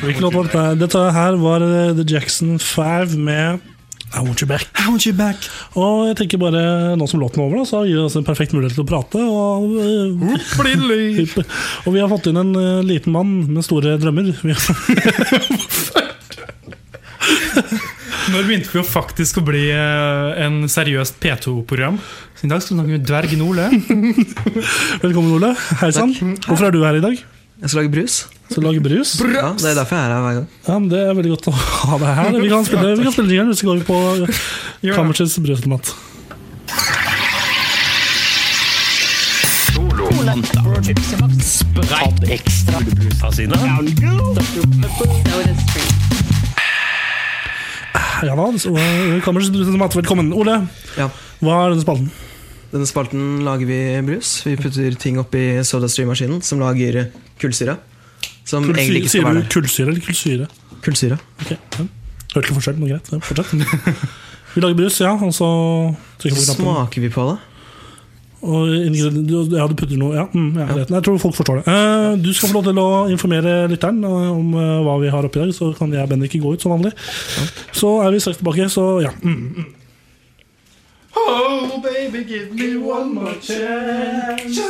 S1: Hvilken låt var dette? Dette her var eh, The Jackson 5 med I Want You Back.
S2: I want you back.
S1: Og jeg tenker bare, nå som låten er over, da, så gir det oss en perfekt mulighet til å prate. Og, eh,
S2: Blindly.
S1: og vi har fått inn en eh, liten mann med store drømmer. Vi har,
S2: Når begynte vi å faktisk å bli eh, en seriøst P2-program? Så I dag skal vi snakke med dvergen Ole.
S1: velkommen, Ole. Hei sann.
S5: Takk.
S1: Hvorfor er du her i dag?
S5: Jeg skal lage brus.
S1: Skal du lage brus?
S5: Ja, det er derfor jeg er her hver gang.
S1: Ja, men Det er veldig godt å ha deg her. Vi kan spille, vi kan spille jingeren, så går vi på
S2: det.
S1: kammersets brødautomat. Ja da, så, eh, kammersets brødautomat, velkommen. Ole,
S5: Ja,
S1: hva er denne spalten?
S5: Denne spalten lager vi brus. Vi putter ting oppi sodastream-maskinen som lager kullsyre. Som egentlig
S1: Kullsyre,
S5: ikke skal
S1: sier
S5: være
S1: du kullsyre eller kullsyre?
S5: der. Kullsyre.
S1: Ok, ja. Hørte ikke forskjell, men greit. Ja, fortsett. Vi lager brus, ja, og så trykker vi på knappen.
S5: Smaker vi på det?
S1: Og ingrediensene- du- ja, du putter noe ja, mm, ja, greit. Nei, Jeg tror folk forstår det. Eh, Du skal få lov til å informere lytteren eh, om eh, hva vi har oppi i dag, så kan jeg og Bendik gå ut som vanlig. Så er vi straks tilbake, så ja. Mm.
S2: Oh, baby, give me one more chance.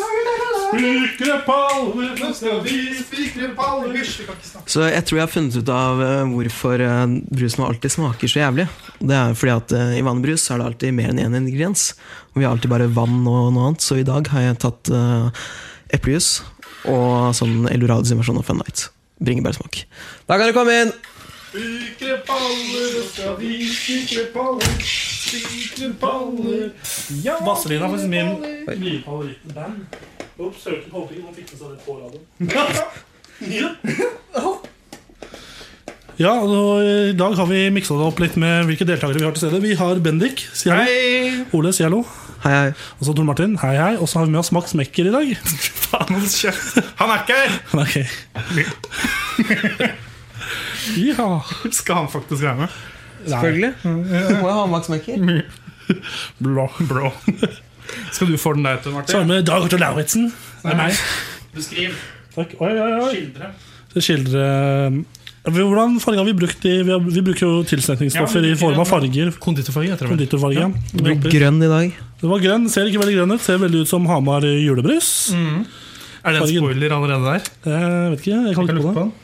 S2: Spikre palmer, nå skal vi spikre palmer. Hysj, vi kan ikke snakke.
S5: Så jeg tror jeg har funnet ut av eh, hvorfor eh, brusen vår alltid smaker så jævlig. Det er fordi at eh, i vannbrus så er det alltid mer enn én ingrediens. Og vi har alltid bare vann og noe annet, så i dag har jeg tatt eh, eplejus og sånn Eldorados invasjon av Fun Night. Bringebærsmak. Da kan du komme inn!
S2: Spikre palmer, nå skal vi spikre palmer. Spikre palmer. Ja,
S1: Vazelina er faktisk min
S5: Oi.
S1: nye favorittband. Ops, hørte ikke håpingen, han fikk med seg det på radioen. Ja, og I dag har vi miksa det opp litt med hvilke deltakere vi har til stede. Vi har Bendik. Si hallo.
S2: Hei!
S1: Ole, si hallo.
S5: Hei, hei.
S1: Og så Tor Martin. Hei, hei. Og så har vi med oss Max Mekker i dag.
S2: Faen, hold kjeft. Han er ikke her!
S1: Ok. ja.
S2: Skal han faktisk være med?
S5: Selvfølgelig. Må jeg ha Max Mekker?
S1: Blå.
S2: Bro. Skal du få den der til,
S1: Så har
S2: Martin?
S1: vi med Dag Otto Lauritzen. Det er meg.
S2: Beskriv.
S1: Takk. Oi, oi, oi.
S2: Skildre.
S1: Det skildrer eh, Hvordan farger har vi brukt i Vi, har, vi bruker jo tilsetningsstoffer
S2: Ja, vi
S1: i form av
S2: bruker
S1: farger.
S2: Konditorfarge heter det vel?
S1: Konditorfarge.
S5: Du blir
S1: Det
S5: grønn i dag.
S1: var grønn, ser ikke veldig grønn ut. Ser veldig ut som Hamar julebrus.
S2: Mm. Er det en
S1: Fargen.
S2: spoiler allerede der?
S1: Jeg vet ikke, jeg kan
S2: Kan
S1: ikke
S2: lukte
S1: på det.
S2: på den?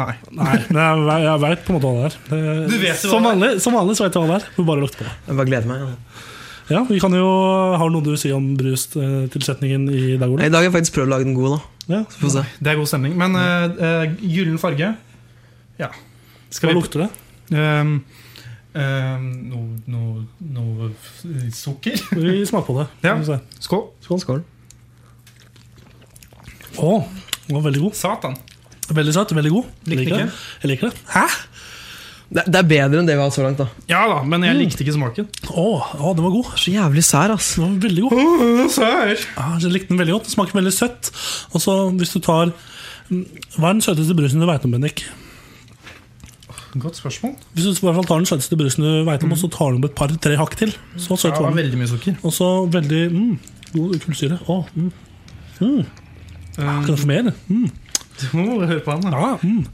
S2: Nei.
S1: Nei, men jeg, ve- jeg veit på en måte hva det er. Det-
S2: Du vet jo hva
S1: som,
S2: det er.
S1: vanlig, som vanlig så vet jeg hva det er. Får bare lukte på det.
S5: Jeg bare gleder meg.
S1: Ja, vi kan jo, Har du noe du vil si om brustilsetningen i dag, Ole?
S5: I dag har jeg faktisk prøvd å lage den god, da.
S1: Ja.
S5: Så Få se.
S2: Det er god stemning. Men eh, eh, gyllen farge Ja.
S1: Hva
S2: Skal vi
S1: lukter det?
S2: Ehm, ehm, Noe noe- noe f- sukker?
S1: Vi smaker på det.
S2: Ja.
S1: Skal vi se.
S2: Skål.
S5: Skål. Skål.
S1: Å, den var veldig god.
S2: Satan.
S1: Veldig søt, veldig god. Jeg
S2: Likte
S1: liker
S2: ikke.
S1: det. Jeg liker det. Hæ?
S5: Det, det er bedre enn det vi har hatt så langt, da.
S2: Ja da, men
S1: Mm.
S2: jeg likte ikke smaken.
S1: Å, å, den var god.
S5: Så jævlig sær, ass.
S1: Den var veldig god.
S2: Mm. Sær.
S1: Ja, jeg likte den veldig godt. Den smaker veldig søtt. Og så hvis du tar mm, Hva er den søteste brusen du veit om, Bendik?
S2: Godt spørsmål.
S1: Hvis du i hvert fall tar den søteste brusen du vet om, og så tar du med et par-tre hakk til, så søt
S2: Ja, det
S1: var
S2: var
S1: den.
S2: veldig mye sukker.
S1: Og så veldig mm, god kullsyre. Å, mm. Mm. Kan jeg få mer? Mm.
S2: Du må bare høre på den. da.
S1: Ja, mm.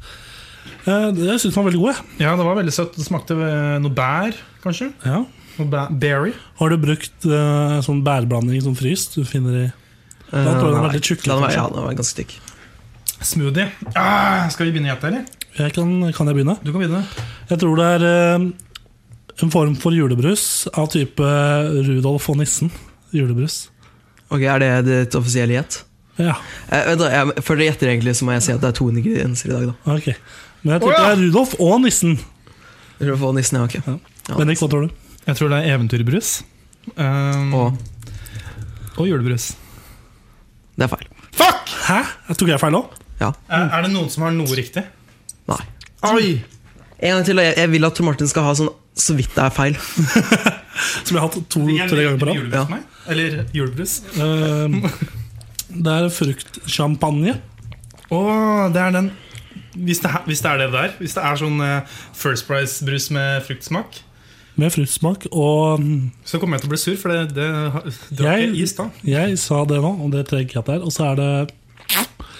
S1: Eh, det- Jeg syns den var veldig god. jeg.
S2: Ja, det var veldig søtt. Det smakte eh, noe bær, kanskje.
S1: Ja.
S2: Noe bæ berry.
S1: Har du brukt eh, sånn bærblanding som fryst? Du finner i
S5: Eh,
S1: Da tror jeg den er
S5: nei,
S1: litt tjukk,
S5: La den være,
S1: kanskje.
S5: ja, den var ganske tykk.
S2: Smoothie. Ah, skal vi begynne å gjette, eller?
S1: jeg kan, kan jeg begynne?
S2: Du kan begynne.
S1: Jeg tror det er eh, en form for julebrus av type Rudolf og nissen. Julebrus.
S5: Ok, Er det ditt offisielle gjett?
S1: Ja,
S5: Eh, vent da, jeg, før dere gjetter, egentlig, så må jeg si at det er to ingredienser i dag. da
S1: Ah, ok. Men jeg
S2: Å,
S1: tenker
S2: ja!
S1: det er Rudolf og nissen.
S5: For å få nissen, ja, ok Ja.
S1: Bendik, hva tror du?
S2: Jeg tror det er eventyrbrus. Ehm,
S5: Og
S2: og julebrus.
S5: det er feil.
S2: Fuck!
S1: Hæ? Jeg tok jeg feil òg?
S5: Ja.
S2: Er, er det noen som har noe riktig?
S5: Nei.
S2: Oi!
S5: En gang til, og jeg, jeg vil at Tor Martin skal ha sånn så vidt det er feil.
S1: Som jeg har hatt to-tre ganger på rad.
S2: Julebrus for meg? Eller julebrus?
S1: Eh, Det er fruktsjampanje.
S2: Å, det er den hvis det, er- hvis det er det der. Hvis det er sånn eh, First Price-brus med fruktsmak,
S1: Med fruktsmak. Og mm,
S2: så kommer jeg til å bli sur, for det, det har- drakk
S1: Jeg-
S2: jeg i stad.
S1: jeg sa det nå, og det trenger jeg ikke at det er. Og så er det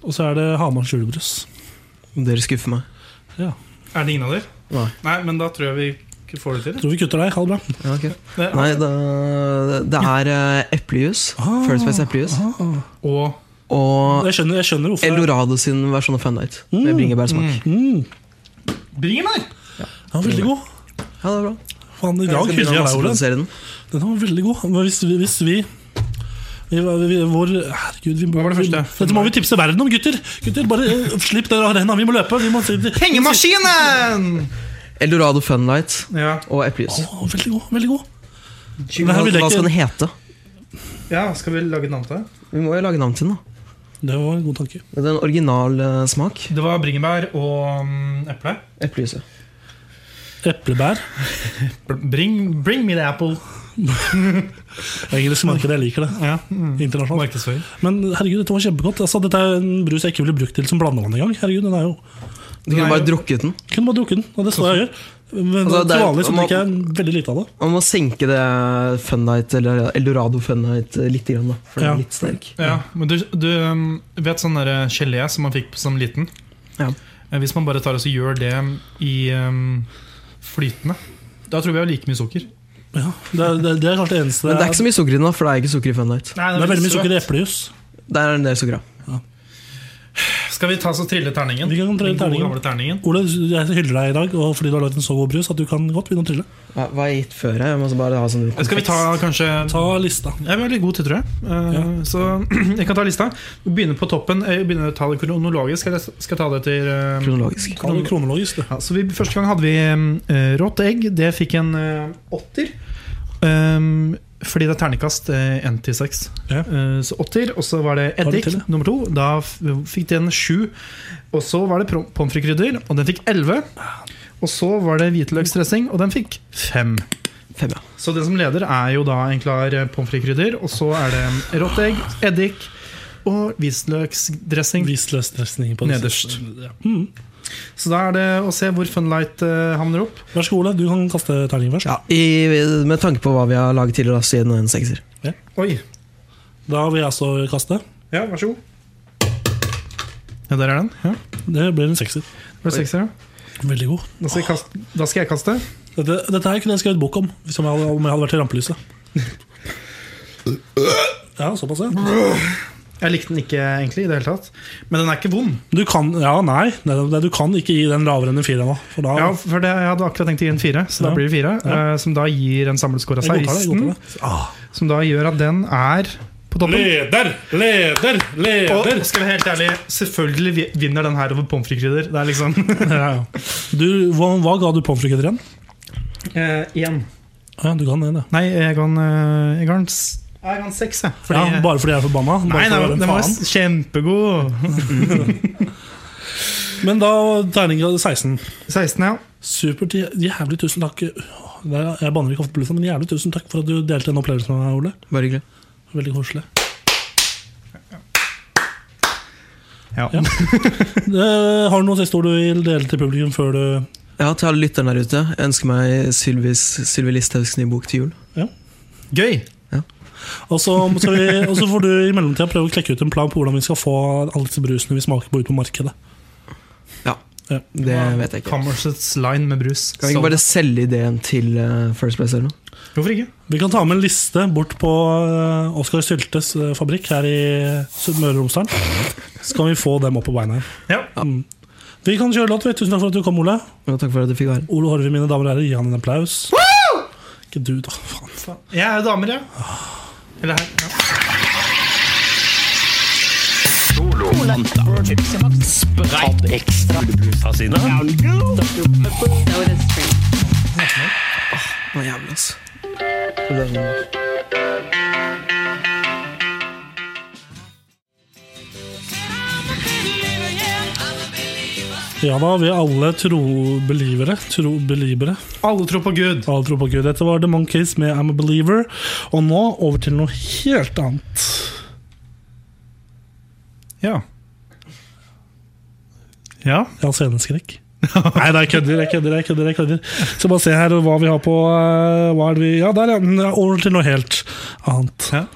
S1: Og så er det Hamars julebrus.
S5: Dere skuffer meg.
S1: Ja.
S2: Er det ingen av dere?
S5: Nei.
S2: men da tror jeg vi ikke får det til.
S1: Tror vi kutter deg. Ha det bra.
S5: Ja, ok.
S2: Det,
S5: Nei, da, det er eh, eplejus.
S1: Ah.
S5: First Face eplejus.
S2: og
S5: Og
S1: Jeg skjønner, jeg skjønner hvorfor. det-
S5: Eldorado sin versjon av Fun Night med bringebærsmak.
S1: Mm,
S2: bringebær!
S1: den var veldig god.
S5: Ja, det er bra.
S1: Faen, i
S5: Jeg
S1: dag hyller
S5: skal begynne å
S1: jeg deg, Ole.
S5: masseprodusere den.
S1: Den var veldig god. Men hvis vi, hvis vi vi, vi, vi, vår, herregud, vi, må-
S2: Hva var det første?
S1: Dette må vi tipse verden om, gutter! Gutter, Bare eh, slipp den arenaen, vi må løpe! Vi må si det.
S2: Pengemaskinen!
S5: Eldorado Fun Night
S2: Ja,
S5: og eplejus.
S1: Å, veldig god. veldig god
S5: Hva,
S1: det her vil jeg
S5: hva skal
S1: ikke-
S5: den hete?
S2: ja skal vi lage navn til det?
S5: Vi må jo lage navn til den. da
S1: Det var en god tanke.
S5: Det er en original eh, smak.
S2: Det var bringebær og mm, eple.
S5: Eplejus. ja.
S1: Eplebær.
S2: Br- Bring, bring me the apple.
S1: Engelsk marked, jeg liker det.
S2: Ja,
S5: Mm.
S1: Internasjonalt.
S2: Markedsføring.
S1: Men herregud, dette var kjempegodt. Altså, dette er en brus jeg ikke ville brukt til som blandevann engang. Herregud, den er jo
S5: Du kunne
S2: Nei,
S5: bare
S2: jo.
S5: drukket den.
S1: Kunne bare drukket den, og det står jeg og gjør. Men
S5: Altså, det
S1: til
S5: er-
S1: vanlig så
S5: man-
S1: drikker jeg veldig lite av det.
S5: Man må senke det Fun Night eller Eldorado Fun Night eh, litt, grann, da, for den
S1: Ja.
S5: er litt sterk.
S2: Ja, men du, du um, vet sånn der gelé som man fikk som liten?
S5: Ja.
S2: Eh, Hvis man bare tar og så gjør det i um, flytende, da tror vi har like mye sukker.
S1: Ja, det, er, det, er- det er kanskje det eneste
S5: Men det er ikke så mye sukker i den, da, for det er ikke sukker i Fun Night.
S1: Det er veldig mye sukker i eplejus.
S5: Der er en del sukker, ja.
S2: Skal vi ta så trille terningen?
S1: Vi kan
S2: Den gode,
S1: trille terningen.
S2: gamle terningen.
S1: Ole, jeg hyller deg i dag og fordi du har lagd en så god brus at du kan godt begynne å trille.
S5: Hva hva har jeg gitt før? Jeg Jeg må bare ha sånn
S2: Skal vi ta kanskje
S1: Ta lista.
S2: Jeg er veldig god til, tror jeg. Eh,
S1: Ja.
S2: Så jeg kan ta lista. Begynne på toppen. Eh, Jeg begynner å ta det kronologisk. Skal jeg, skal jeg ta det etter eh,
S5: kronologisk.
S1: Ta det kronologisk, du.
S2: Ja, så vi, første gang hadde vi eh, rått egg. Det fikk en eh, åtter. Ehm, fordi det er ternekast eh, én til seks.
S1: Ja.
S2: Eh, så åtter. Og så var det
S1: Var det
S2: eddik,
S1: til det?
S2: nummer to. Da f fikk den sju. Og så var det prom- pommes frites-krydder, og den fikk elleve. Og så var det hvitløksdressing, og den fikk fem.
S5: Fem, ja.
S2: Så det som leder er jo da en klar eh, pommes frites-krydder, og så er det rått egg, eddik og hvitløksdressing.
S1: Visløs dressing på det
S2: Nederst.
S1: siste. Ja. Mm.
S2: Så da er det å se hvor Funlight eh, havner opp.
S1: Vær så god, Ole. Du kan kaste terningen først.
S5: ja i, med tanke på hva vi har laget tidligere, da, så gir den en sekser.
S2: Oi,
S1: Da vil jeg også kaste.
S2: Ja, vær så god. Ja, der er den. Ja.
S1: Det blir en sekser.
S2: Var det sekser, ja?
S1: Veldig god.
S2: Da skal, jeg kaste, da skal jeg kaste.
S1: Dette, dette her kunne jeg skrevet bok om hvis jeg hadde, om jeg hadde vært i rampelyset. Ja, såpass, ja.
S2: Jeg likte den ikke egentlig i det hele tatt. Men den er ikke vond.
S1: Du kan, ja, nei, nei, nei, du kan ikke gi den lavere enn en firer nå. For da,
S2: Ja, for det, Jeg hadde akkurat tenkt å gi en fire, så da
S1: Ja.
S2: blir det fire. eh, som da gir en samleskår av
S1: jeg godtar det. Jeg
S2: 16.
S1: godtar det. Ah.
S2: Som da gjør at den er på toppen.
S1: Leder, leder,
S2: Og
S1: leder!
S2: skal jeg være helt ærlig, selvfølgelig vi- vinner den her over pommes frites-krydder. Det er liksom
S1: Ja, ja. Du, hva, hva ga du pommes frites igjen?
S2: eh, Igjen.
S1: Ja, du kan det, det.
S2: Nei, jeg kan, eh, jeg kan, s- jeg kan seks, jeg. Fordi,
S1: ja, bare fordi jeg er forbanna? Bare
S2: nei,
S1: for å
S2: nei,
S1: være en
S2: den var
S1: faen.
S2: s- kjempegod.
S1: Men da terninga 16.
S2: 16, ja.
S1: Supert. jæ- Jævlig tusen takk. Åh, det er- Jeg banner ikke ofte på lufta, men jævlig tusen takk for at du delte en opplevelse med meg, Ole.
S5: Bare hyggelig.
S1: Veldig koselig.
S2: ja.
S1: Ja. Eh, har du noen siste ord du vil dele til publikum før du
S5: Ja, til alle lytterne der ute, jeg ønsker meg Sylvis, Sylvi Listhaugs nye bok til jul.
S2: Gøy!
S1: Og så, skal vi, og så får du i mellomtida prøve å klekke ut en plan på hvordan vi skal få alle disse brusene vi smaker på ut på markedet.
S5: Ja,
S1: Ja.
S5: det vet jeg ikke.
S2: Commersets line med brus.
S5: Kan vi ikke bare selge ideen til eh, First Place eller noe?
S2: Hvorfor ikke?
S1: Vi kan ta med en liste bort på eh, Oskar Syltes eh, fabrikk her i Sud- Møre og Romsdal. Så kan vi få dem opp på beina igjen.
S2: Ja.
S1: Mm. Vi kan kjøre låt. vi. Tusen takk for at du kom, Ole.
S5: Og takk for at du fikk være her.
S1: Ole Horve, mine damer og herrer, gi han en applaus. Ikke du, da. Faen.
S2: Jeg er damer, ja. Eller her. Ja.
S5: Å, jævlig, ass. Det er-
S1: Ja da, vi er alle tro-believere. Tro-believere.
S2: Alle tror på Gud.
S1: Alle tror på Gud. Dette var The Monkeys med I'm a Believer. Og nå over til noe helt annet.
S2: Ja. Ja.
S1: Jeg har sceneskrekk. Nei, nei, jeg kødder, jeg kødder. jeg kødder, jeg kødder. Så bare se her hva vi har på eh, hva er det vi, Ja, der, ja. Mm, Over til noe helt annet.
S2: Ja.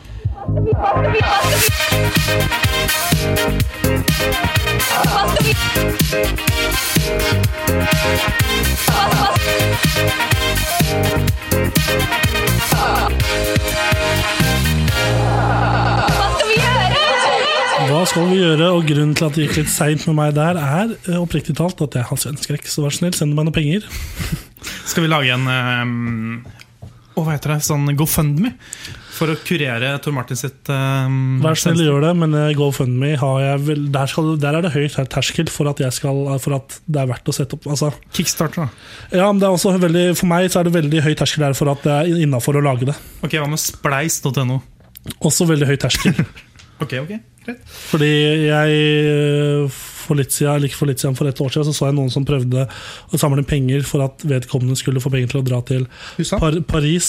S1: Hva skal vi gjøre? Og grunnen til at det gikk litt seint med meg der, er eh, oppriktig talt at jeg har svenskrekk. Så vær så snill, send meg noen penger.
S2: Skal vi lage en ehm, Å, hva heter det? Sånn GoFundMe? For å kurere Tor Martin sitt ehm,
S1: Vær så snill,
S2: sense.
S1: gjør det, men eh, GoFundMe har jeg vel der, skal, der er det høy ter- terskel for at, jeg skal, eh, for at det er verdt å sette opp. Altså,
S2: Kickstarter, da.
S1: ja, men det er også veldig, For meg så er det veldig høy terskel der for at det er innafor å lage det.
S2: Ok, hva med spleis.no?
S1: Også veldig høy terskel.
S2: Ok, ok, greit.
S1: Fordi jeg eh, for litt siden, eller ikke for litt siden, for et år siden så så jeg noen som prøvde å samle penger for at vedkommende skulle få penger til å dra til
S2: Husa?
S1: Par Paris.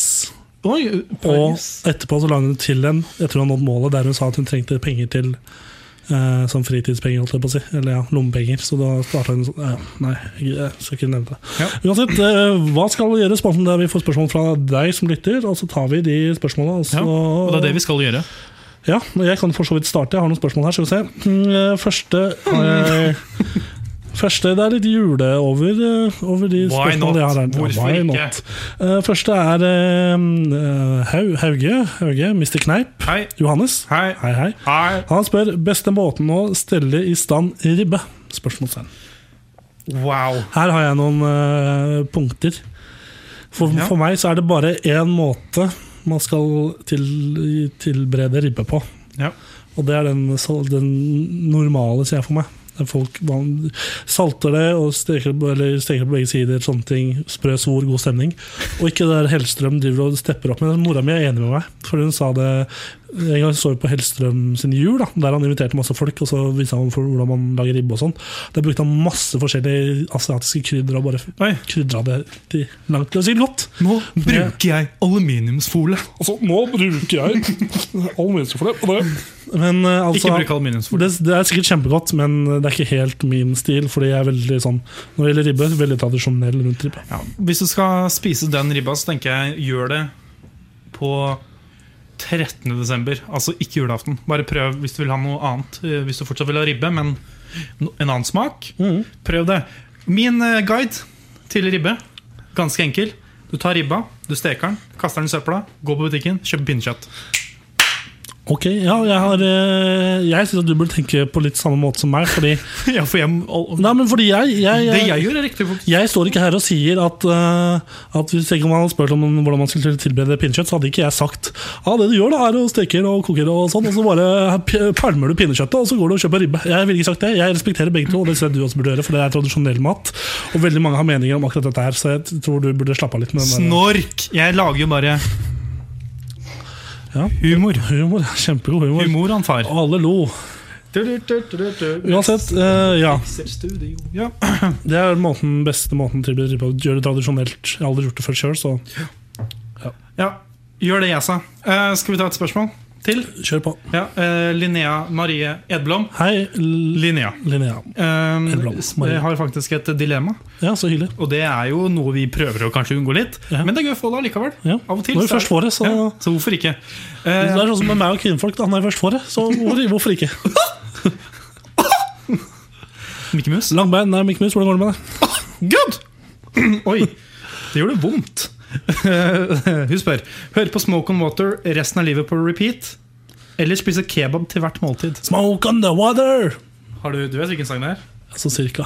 S2: Oi,
S1: Og
S2: Paris.
S1: etterpå så la hun til en Jeg tror hun nådde målet der hun sa at hun trengte penger til eh, Som fritidspenger, holdt jeg på å si. Eller ja, lommepenger. Så da starta hun sånn ja, Nei, jeg jeg skal ikke nevne det. Uansett, eh, hva skal vi gjøre? Spalten der vi får spørsmål fra deg som lytter, og så tar vi de spørsmåla. Og så
S2: Ja, og det er det vi skal gjøre.
S1: ja, men jeg kan for så vidt starte. Jeg har noen spørsmål her. Skal vi se. Mm, eh, Første eh, Første, Det er litt jule over, eh, over de
S2: Why not?
S1: spørsmålene jeg har her.
S2: Hvorfor ikke?
S1: Eh, Første er eh, eh, Hau- Hauge, Hauge, Mr. Kneip.
S2: Hei.
S1: Johannes.
S2: Hei.
S1: Hei, hei.
S2: Hei.
S1: Han spør beste måten å stelle i stand ribbe? Spørsmålstegn.
S2: Wow.
S1: Her har jeg noen eh, punkter. For,
S2: Ja.
S1: for meg så er det bare én måte man skal til, tilberede ribbe på.
S2: Ja.
S1: Og det er den, sal- den normale, ser jeg for meg. Der folk man salter det og steker, det- eller steker det på begge sider. Sånne ting. Sprø svor, god stemning. Og ikke det der Hellstrøm driver og stepper opp med. Mora mi er enig med meg. For hun sa det En gang så vi på Hellstrøm sin jul, da, der han inviterte masse folk. Og så viste han for- hvordan man lager ribbe og sånn. Der brukte han masse forskjellige asiatiske krydder og bare
S2: Oi.
S1: krydra det til langt. Det var sikkert godt.
S2: Nå bruker jeg aluminiumsfolie.
S1: Altså, nå bruker jeg aluminiumsfolie på det. Men eh, altså
S2: Ikke bruk aluminiumsfolie.
S1: det, det er sikkert kjempegodt, men det er ikke helt min stil. Fordi jeg er veldig sånn Når det gjelder ribbe, veldig tradisjonell rundt ribbe.
S2: Ja. Hvis du skal spise den ribba, så tenker jeg gjør det på 13. desember. Altså ikke julaften. Bare prøv hvis du vil ha noe annet. eh, Hvis du fortsatt vil ha ribbe, men no- en annen smak. Prøv det. Min eh, guide til ribbe, ganske enkel. Du tar ribba, du steker den, kaster den i søpla, går på butikken, kjøp pinnekjøtt.
S1: Ok, ja, jeg har eh, Jeg syns du burde tenke på litt samme måte som meg. Fordi,
S2: Ja, for jeg, al-
S1: nei, men fordi jeg, jeg,
S2: det
S1: jeg,
S2: jeg gjør, er riktig. faktisk.
S1: jeg står ikke her og sier at, eh, at hvis ikke man hadde spurt om hvordan man skulle tilberede pinnekjøtt, så hadde ikke jeg sagt ja, det du gjør da er å steker og koker og sånn, og så bare p- palmer du pinnekjøttet og så går du og kjøper ribbe. Jeg ville ikke sagt det. Jeg respekterer begge to, og det synes jeg du også burde gjøre, for det er tradisjonell mat. Og veldig mange har meninger om akkurat dette her, så jeg tror du burde slappe av litt med den der-
S2: Snork! Jeg lager jo bare
S1: Ja.
S2: humor.
S1: Humor, kjempegod humor.
S2: Humor, han far.
S1: Og alle lo. Uansett, eh, ja.
S2: Ja.
S1: Det er måten, beste måten til å gjøre det tradisjonelt. Jeg har aldri gjort det før sjøl, så
S2: ja, gjør det jeg sa. Eh, skal vi ta et spørsmål til?
S1: kjør på.
S2: Ja, eh, Linnea Marie Edblom.
S1: Hei, L-
S2: Linnea.
S1: Linnea.
S2: Um,
S1: Edblom, Marie.
S2: jeg har faktisk et dilemma,
S1: Ja, så hyggelig.
S2: og det er jo noe vi prøver å kanskje unngå litt.
S1: Ja.
S2: Men det er gøy å få det allikevel.
S1: Ja.
S2: Av og til.
S1: Når vi
S2: så er-
S1: først får det, så
S2: ja, så hvorfor ikke?
S1: Det
S2: Eh,
S1: er sånn som med meg og kvinnfolk. Da. Når jeg først får det, så hvor, hvorfor ikke?
S2: Mikke Mus.
S1: Langbein, nei, Mikke Mus, hvordan går det med deg?
S2: Good! Oi, det gjorde vondt. Hun spør Høre på Smoke on Water resten av livet på repeat. Eller spise kebab til hvert måltid.
S1: Smoke on the water!
S2: Har du, du vet hvilken sang det er?
S1: Så cirka.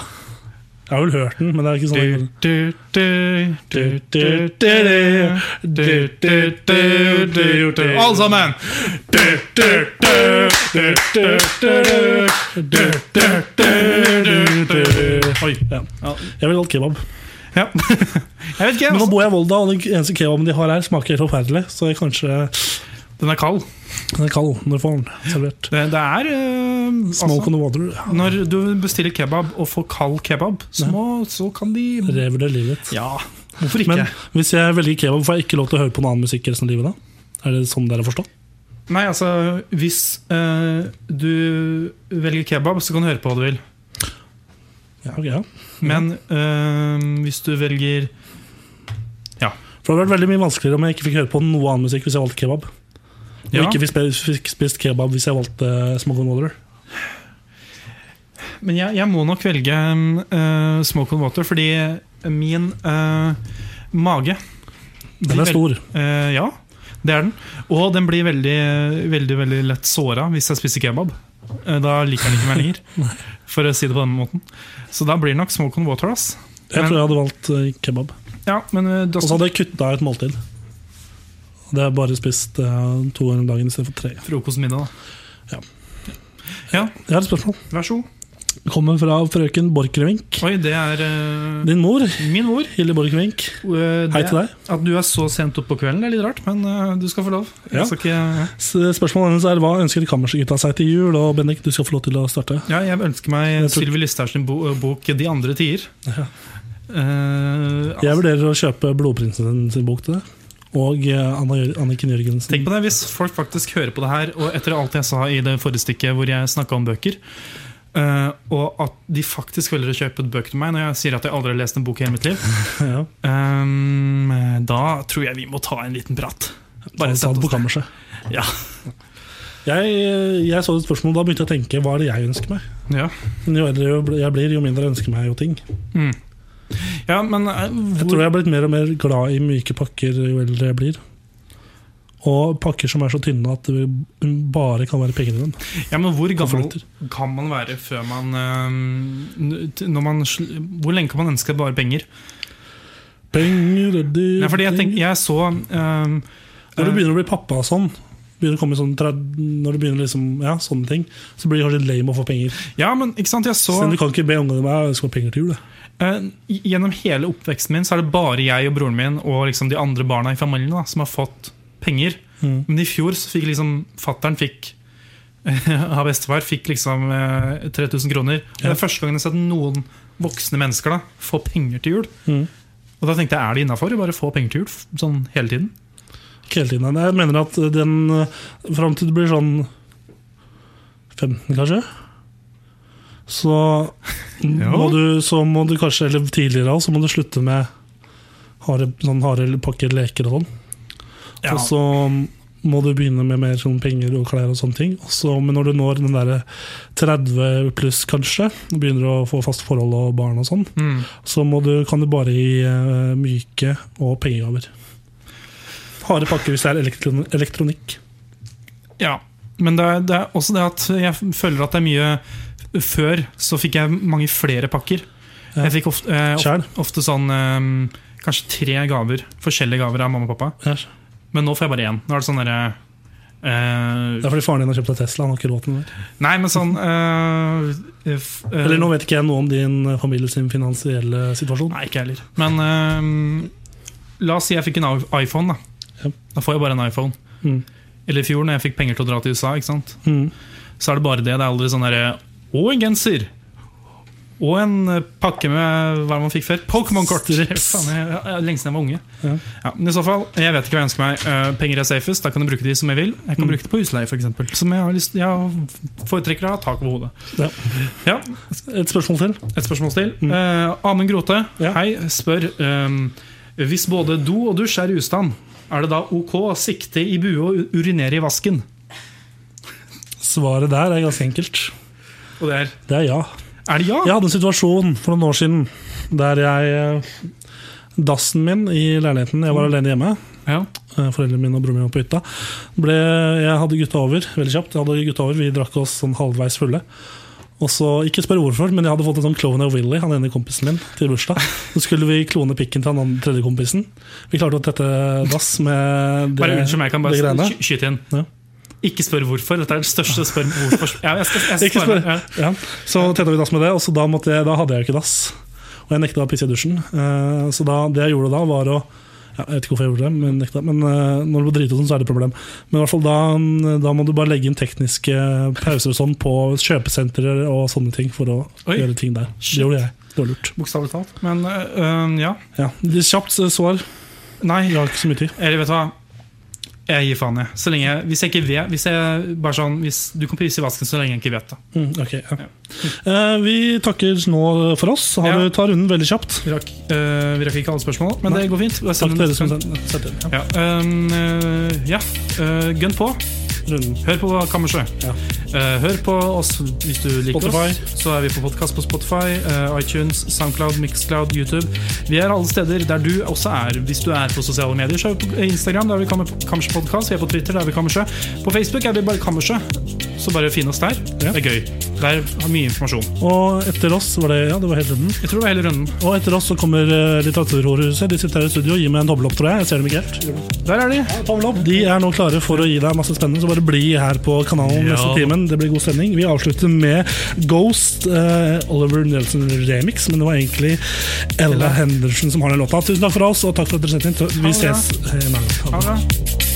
S1: Jeg har vel hørt den, men det er ikke sånn jeg-
S2: Alle sammen!
S1: Oi. Ja. Jeg vil ha kebab.
S2: Ja. Jeg vet ikke,
S1: Men nå
S2: altså.
S1: bor jeg i Volda, og den eneste kebaben de har her, smaker helt forferdelig. Så jeg kanskje
S2: Den er kald.
S1: Den er kald når du får den servert.
S2: Det, det er eh,
S1: Smoke
S2: altså,
S1: on the water.
S2: Når du bestiller kebab og får kald kebab, så, må, så kan de
S1: Revurder livet ditt.
S2: Ja, hvorfor ikke?
S1: Men hvis jeg velger kebab, får jeg ikke lov til å høre på noen annen musikk resten av livet da? Er det sånn dere har forstått?
S2: Nei, altså Hvis eh, du velger kebab, så kan du høre på hva du vil.
S1: Ja, ok, ja.
S2: Men eh, hvis du velger
S1: For det hadde vært veldig mye vanskeligere om jeg ikke fikk høre på noe annen musikk hvis jeg valgte kebab. Og
S2: Ja.
S1: ikke fikk spe- fikk spist kebab hvis jeg valgte Smogon Water.
S2: Men jeg, jeg må nok velge um, eh, smoke and water, fordi min eh, mage
S1: Den
S2: blir
S1: er stor.
S2: vel- eh, ja, det er den. Og den blir veldig, veldig, veldig lett såra hvis jeg spiser kebab. Eh, da liker den ikke meg lenger, for å si det på den måten. Så da blir det nok smoke and water. Ass.
S1: Jeg
S2: Men-
S1: tror jeg hadde valgt eh, kebab.
S2: Ja, men eh, da
S1: Og så hadde jeg kutta et måltid. Det er bare spist eh, to ganger om dagen istedenfor tre.
S2: frokostmiddag, da.
S1: Jeg har et spørsmål.
S2: Vær så god.
S1: Det Kommer fra frøken Borchgrevink.
S2: Oi, det er eh,
S1: Din mor,
S2: min ord.
S1: Hilde Borchgrevink.
S2: Eh,
S1: Hei
S2: det-
S1: til deg.
S2: At du er så sent oppe på kvelden, det er litt rart, men eh, du skal få lov. Jeg
S1: Ja.
S2: skal ikke... ja.
S1: S- Spørsmålet hennes er hva ønsker kammersgutta seg til jul? Og Bendik, du skal få lov til å starte.
S2: Ja, jeg ønsker meg
S1: Jeg tror-
S2: Sylvi Listhaug sin bo eh, bok 'De andre tider'.
S1: Ja.
S2: Eh,
S1: Jeg vurderer å kjøpe Blodprinsen sin bok til deg. Og eh, Anna, Jør- Anniken Jørgensen.
S2: altså, Tenk på det, Hvis folk faktisk hører på det her, og etter alt jeg sa i det forrige stykket hvor jeg snakka om bøker, eh, og at de faktisk velger å kjøpe bøker til meg når jeg sier at jeg aldri har lest en bok i hele mitt liv,
S1: Ja,
S2: eh, da tror jeg vi må ta en liten prat. Bare
S1: Bare
S2: sett
S1: satt
S2: oss
S1: på
S2: ned.
S1: kammerset.
S2: Ja.
S1: Jeg, jeg så et spørsmål, da begynte jeg å tenke hva er det jeg ønsker meg?
S2: Ja.
S1: Men jo eldre jeg bl- jeg blir, jo mindre ønsker jeg meg jo ting.
S2: Mm. ja, men eh,
S1: Jeg tror jeg er blitt mer og mer glad i myke pakker jo eldre jeg blir. Og pakker som er så tynne at det bare kan være penger i dem.
S2: Ja, men hvor gammel
S1: Konvolutter.
S2: kan man være før man, øhm, n- når man sl- Hvor lenge kan man ønske bare penger?
S1: Penger er dyrt.
S2: Nei, fordi jeg, tenk, jeg så øhm,
S1: Når
S2: øh,
S1: du begynner å bli pappa og sånn, begynner å komme i sånn tredd- når du begynner liksom, ja, sånne ting, så blir det kanskje litt lame å få penger.
S2: Ja, men ikke sant, jeg så
S1: Men du kan ikke be ungene meg ønske meg penger til jul. jeg».
S2: øh, Gjennom hele oppveksten min så er det bare jeg og broren min og liksom de andre barna i familien da, som har fått penger.
S1: Mm.
S2: Men i fjor så fikk liksom fattern fikk av bestefar fikk liksom øh, 3000 kroner. Og Det
S1: Ja.
S2: er første gangen jeg har sett noen voksne mennesker da få penger til jul.
S1: Mm.
S2: Og da tenkte jeg, er det innafor å bare få penger til jul f- sånn hele tiden?
S1: Ikke hele tiden. Jeg mener at den eh, fram til du blir sånn 15, kanskje, så må, du, så må du kanskje, eller tidligere også, så må du slutte med harde, sånn harde pakker leker og sånn.
S2: Ja.
S1: Og så må du begynne med mer sånn penger og klær og sånne ting. Og så- men når du når den derre 30 pluss, kanskje, og begynner å få fast forhold og barn og sånn,
S2: Mm.
S1: så må du, kan du bare gi eh, myke og pengegaver. Harde pakker hvis det er elektron elektronikk.
S2: Ja, men det er, det er også det at jeg føler at det er mye Før så fikk jeg mange flere pakker.
S1: Ja.
S2: Jeg fikk ofte, eh, ofte,
S1: Sjæl.
S2: ofte sånn eh, kanskje tre gaver, forskjellige gaver av mamma og pappa.
S1: Ja.
S2: Men nå får jeg bare én. Nå er det sånn derre eh,
S1: Det er fordi faren din har kjøpt deg Tesla. Han har ikke råd til det.
S2: Nei, men sånn eh, f- eh,
S1: Eller nå vet ikke jeg noe om din eh, familie sin finansielle situasjon.
S2: Nei, ikke jeg heller. Men eh, la oss si jeg fikk en i- iPhone, da.
S1: Ja.
S2: Da får jeg bare en iPhone.
S1: Mm.
S2: Eller i fjor, når jeg fikk penger til å dra til USA. ikke sant?
S1: Mm.
S2: så er det bare det. Det er aldri sånn derre Å, en genser! Og en eh, pakke med hva man fikk før. Pokémon-kort!
S1: Strips.
S2: Faen, jeg- jeg- jeg- Lenge siden jeg var unge.
S1: Ja.
S2: Ja, men i så fall, Jeg vet ikke hva jeg ønsker meg. Eh, penger er safest, da kan jeg bruke de som jeg vil. Jeg kan bruke det på husleie, f.eks. Som jeg, har lyst, jeg foretrekker å ha tak over hodet.
S1: Ja.
S2: Ja,
S1: Et spørsmål til.
S2: Et spørsmål til. Eh, Amund Grote,
S1: Ja.
S2: hei, spør ehm, Hvis både do og dusj er i ustand, er det da ok å sikte i bue og urinere i vasken?
S1: Svaret der er ganske enkelt.
S2: Og det er
S1: Det er ja.
S2: Er det ja?
S1: Jeg hadde en situasjon for noen år siden der jeg eh, Dassen min i leiligheten, jeg var alene hjemme.
S2: ja.
S1: Eh, Foreldrene mine og broren min var på hytta. Ble, jeg hadde gutta over veldig kjapt. Jeg hadde gutta over, Vi drakk oss sånn halvveis fulle. Og så, Ikke spør hvorfor, men jeg hadde fått en sånn Cloven og Willy, han ene kompisen min, til bursdag. Så skulle vi klone pikken til han andre tredje kompisen. Vi klarte å tette dass med det,
S2: Bare unnskyld meg, jeg kan
S1: det
S2: bare
S1: greiene.
S2: sky- skyte inn.
S1: Ja.
S2: Ikke spør hvorfor. Dette er det største spør hvorfor. Ja, jeg skal, jeg skal
S1: Ikke
S2: svare.
S1: spør. Ja. Så tetta vi dass med det, og så da, måtte jeg, da hadde jeg jo ikke dass. Og jeg nekta å pisse i dusjen. Eh, Så da, det jeg gjorde da, var å ja, Jeg vet ikke hvorfor jeg gjorde det, men, nekta, men eh, når du blir drita sånn, så er det et problem. Men i hvert fall da, da må du bare legge inn tekniske pauser og sånn på kjøpesentre og sånne ting for å
S2: Oi.
S1: gjøre ting der.
S2: Shit.
S1: Det gjorde jeg. Det var lurt.
S2: Ja. Bokstavelig talt. Men øh, øh, ja.
S1: Ja. Litt Kjapt eh, svar.
S2: Nei,
S1: Jeg har ikke så mye tid.
S2: eller vet du hva? Jeg gir faen, jeg. Så lenge jeg, hvis jeg ikke vet hvis jeg, bare sånn, hvis Du kan prise i vasken så lenge jeg ikke vet det.
S1: Mm, ok, ja. Eh, Vi takker nå for oss. Har
S2: Ja.
S1: du tar runden veldig kjapt.
S2: Vi rakk, øh, vi rakk ikke alle spørsmål, men
S1: Nei.
S2: det går fint. Bare send
S1: Takk til
S2: en-
S1: dere som
S2: eh,
S1: sendte.
S2: Ja. øh, øh, ja. Øh, gønn på.
S1: Runden.
S2: Hør på Kammerset.
S1: Ja.
S2: Eh, Hør på oss hvis du liker
S1: Spotify.
S2: oss. Så er vi på podkast på Spotify, eh, iTunes, Soundcloud, Mixcloud, YouTube. Vi er alle steder der du også er. Hvis du er på sosiale medier, så er vi på eh, Instagram, der er vi Kammer- Kammerset Podcast. Vi er på Twitter, der er vi Kammerset. På Facebook er vi bare Kammerset. Så bare finn oss der.
S1: Ja.
S2: Det er gøy. Der har mye informasjon.
S1: Og etter oss var det Ja, det var hele runden.
S2: Jeg tror det var hele runden.
S1: Og etter oss så kommer eh, Litteraturhuset. De sitter her i studio og gir meg en dobbel opp, tror jeg. Jeg ser dem ikke helt.
S2: Der er de.
S1: Tommel opp. De er nå klare for å gi deg masse spennende, så bare bli her på kanalen
S2: Ja.
S1: neste timen. Det blir god stemning. Vi avslutter med Ghost, eh, Oliver Nelson remix, men det var egentlig Ella Henderson som har den låta. Tusen takk for oss, og takk for at dere sendte inn. Vi
S2: Ha det bra.
S1: ses. eh, i morgen. Ha det.
S2: Ha det.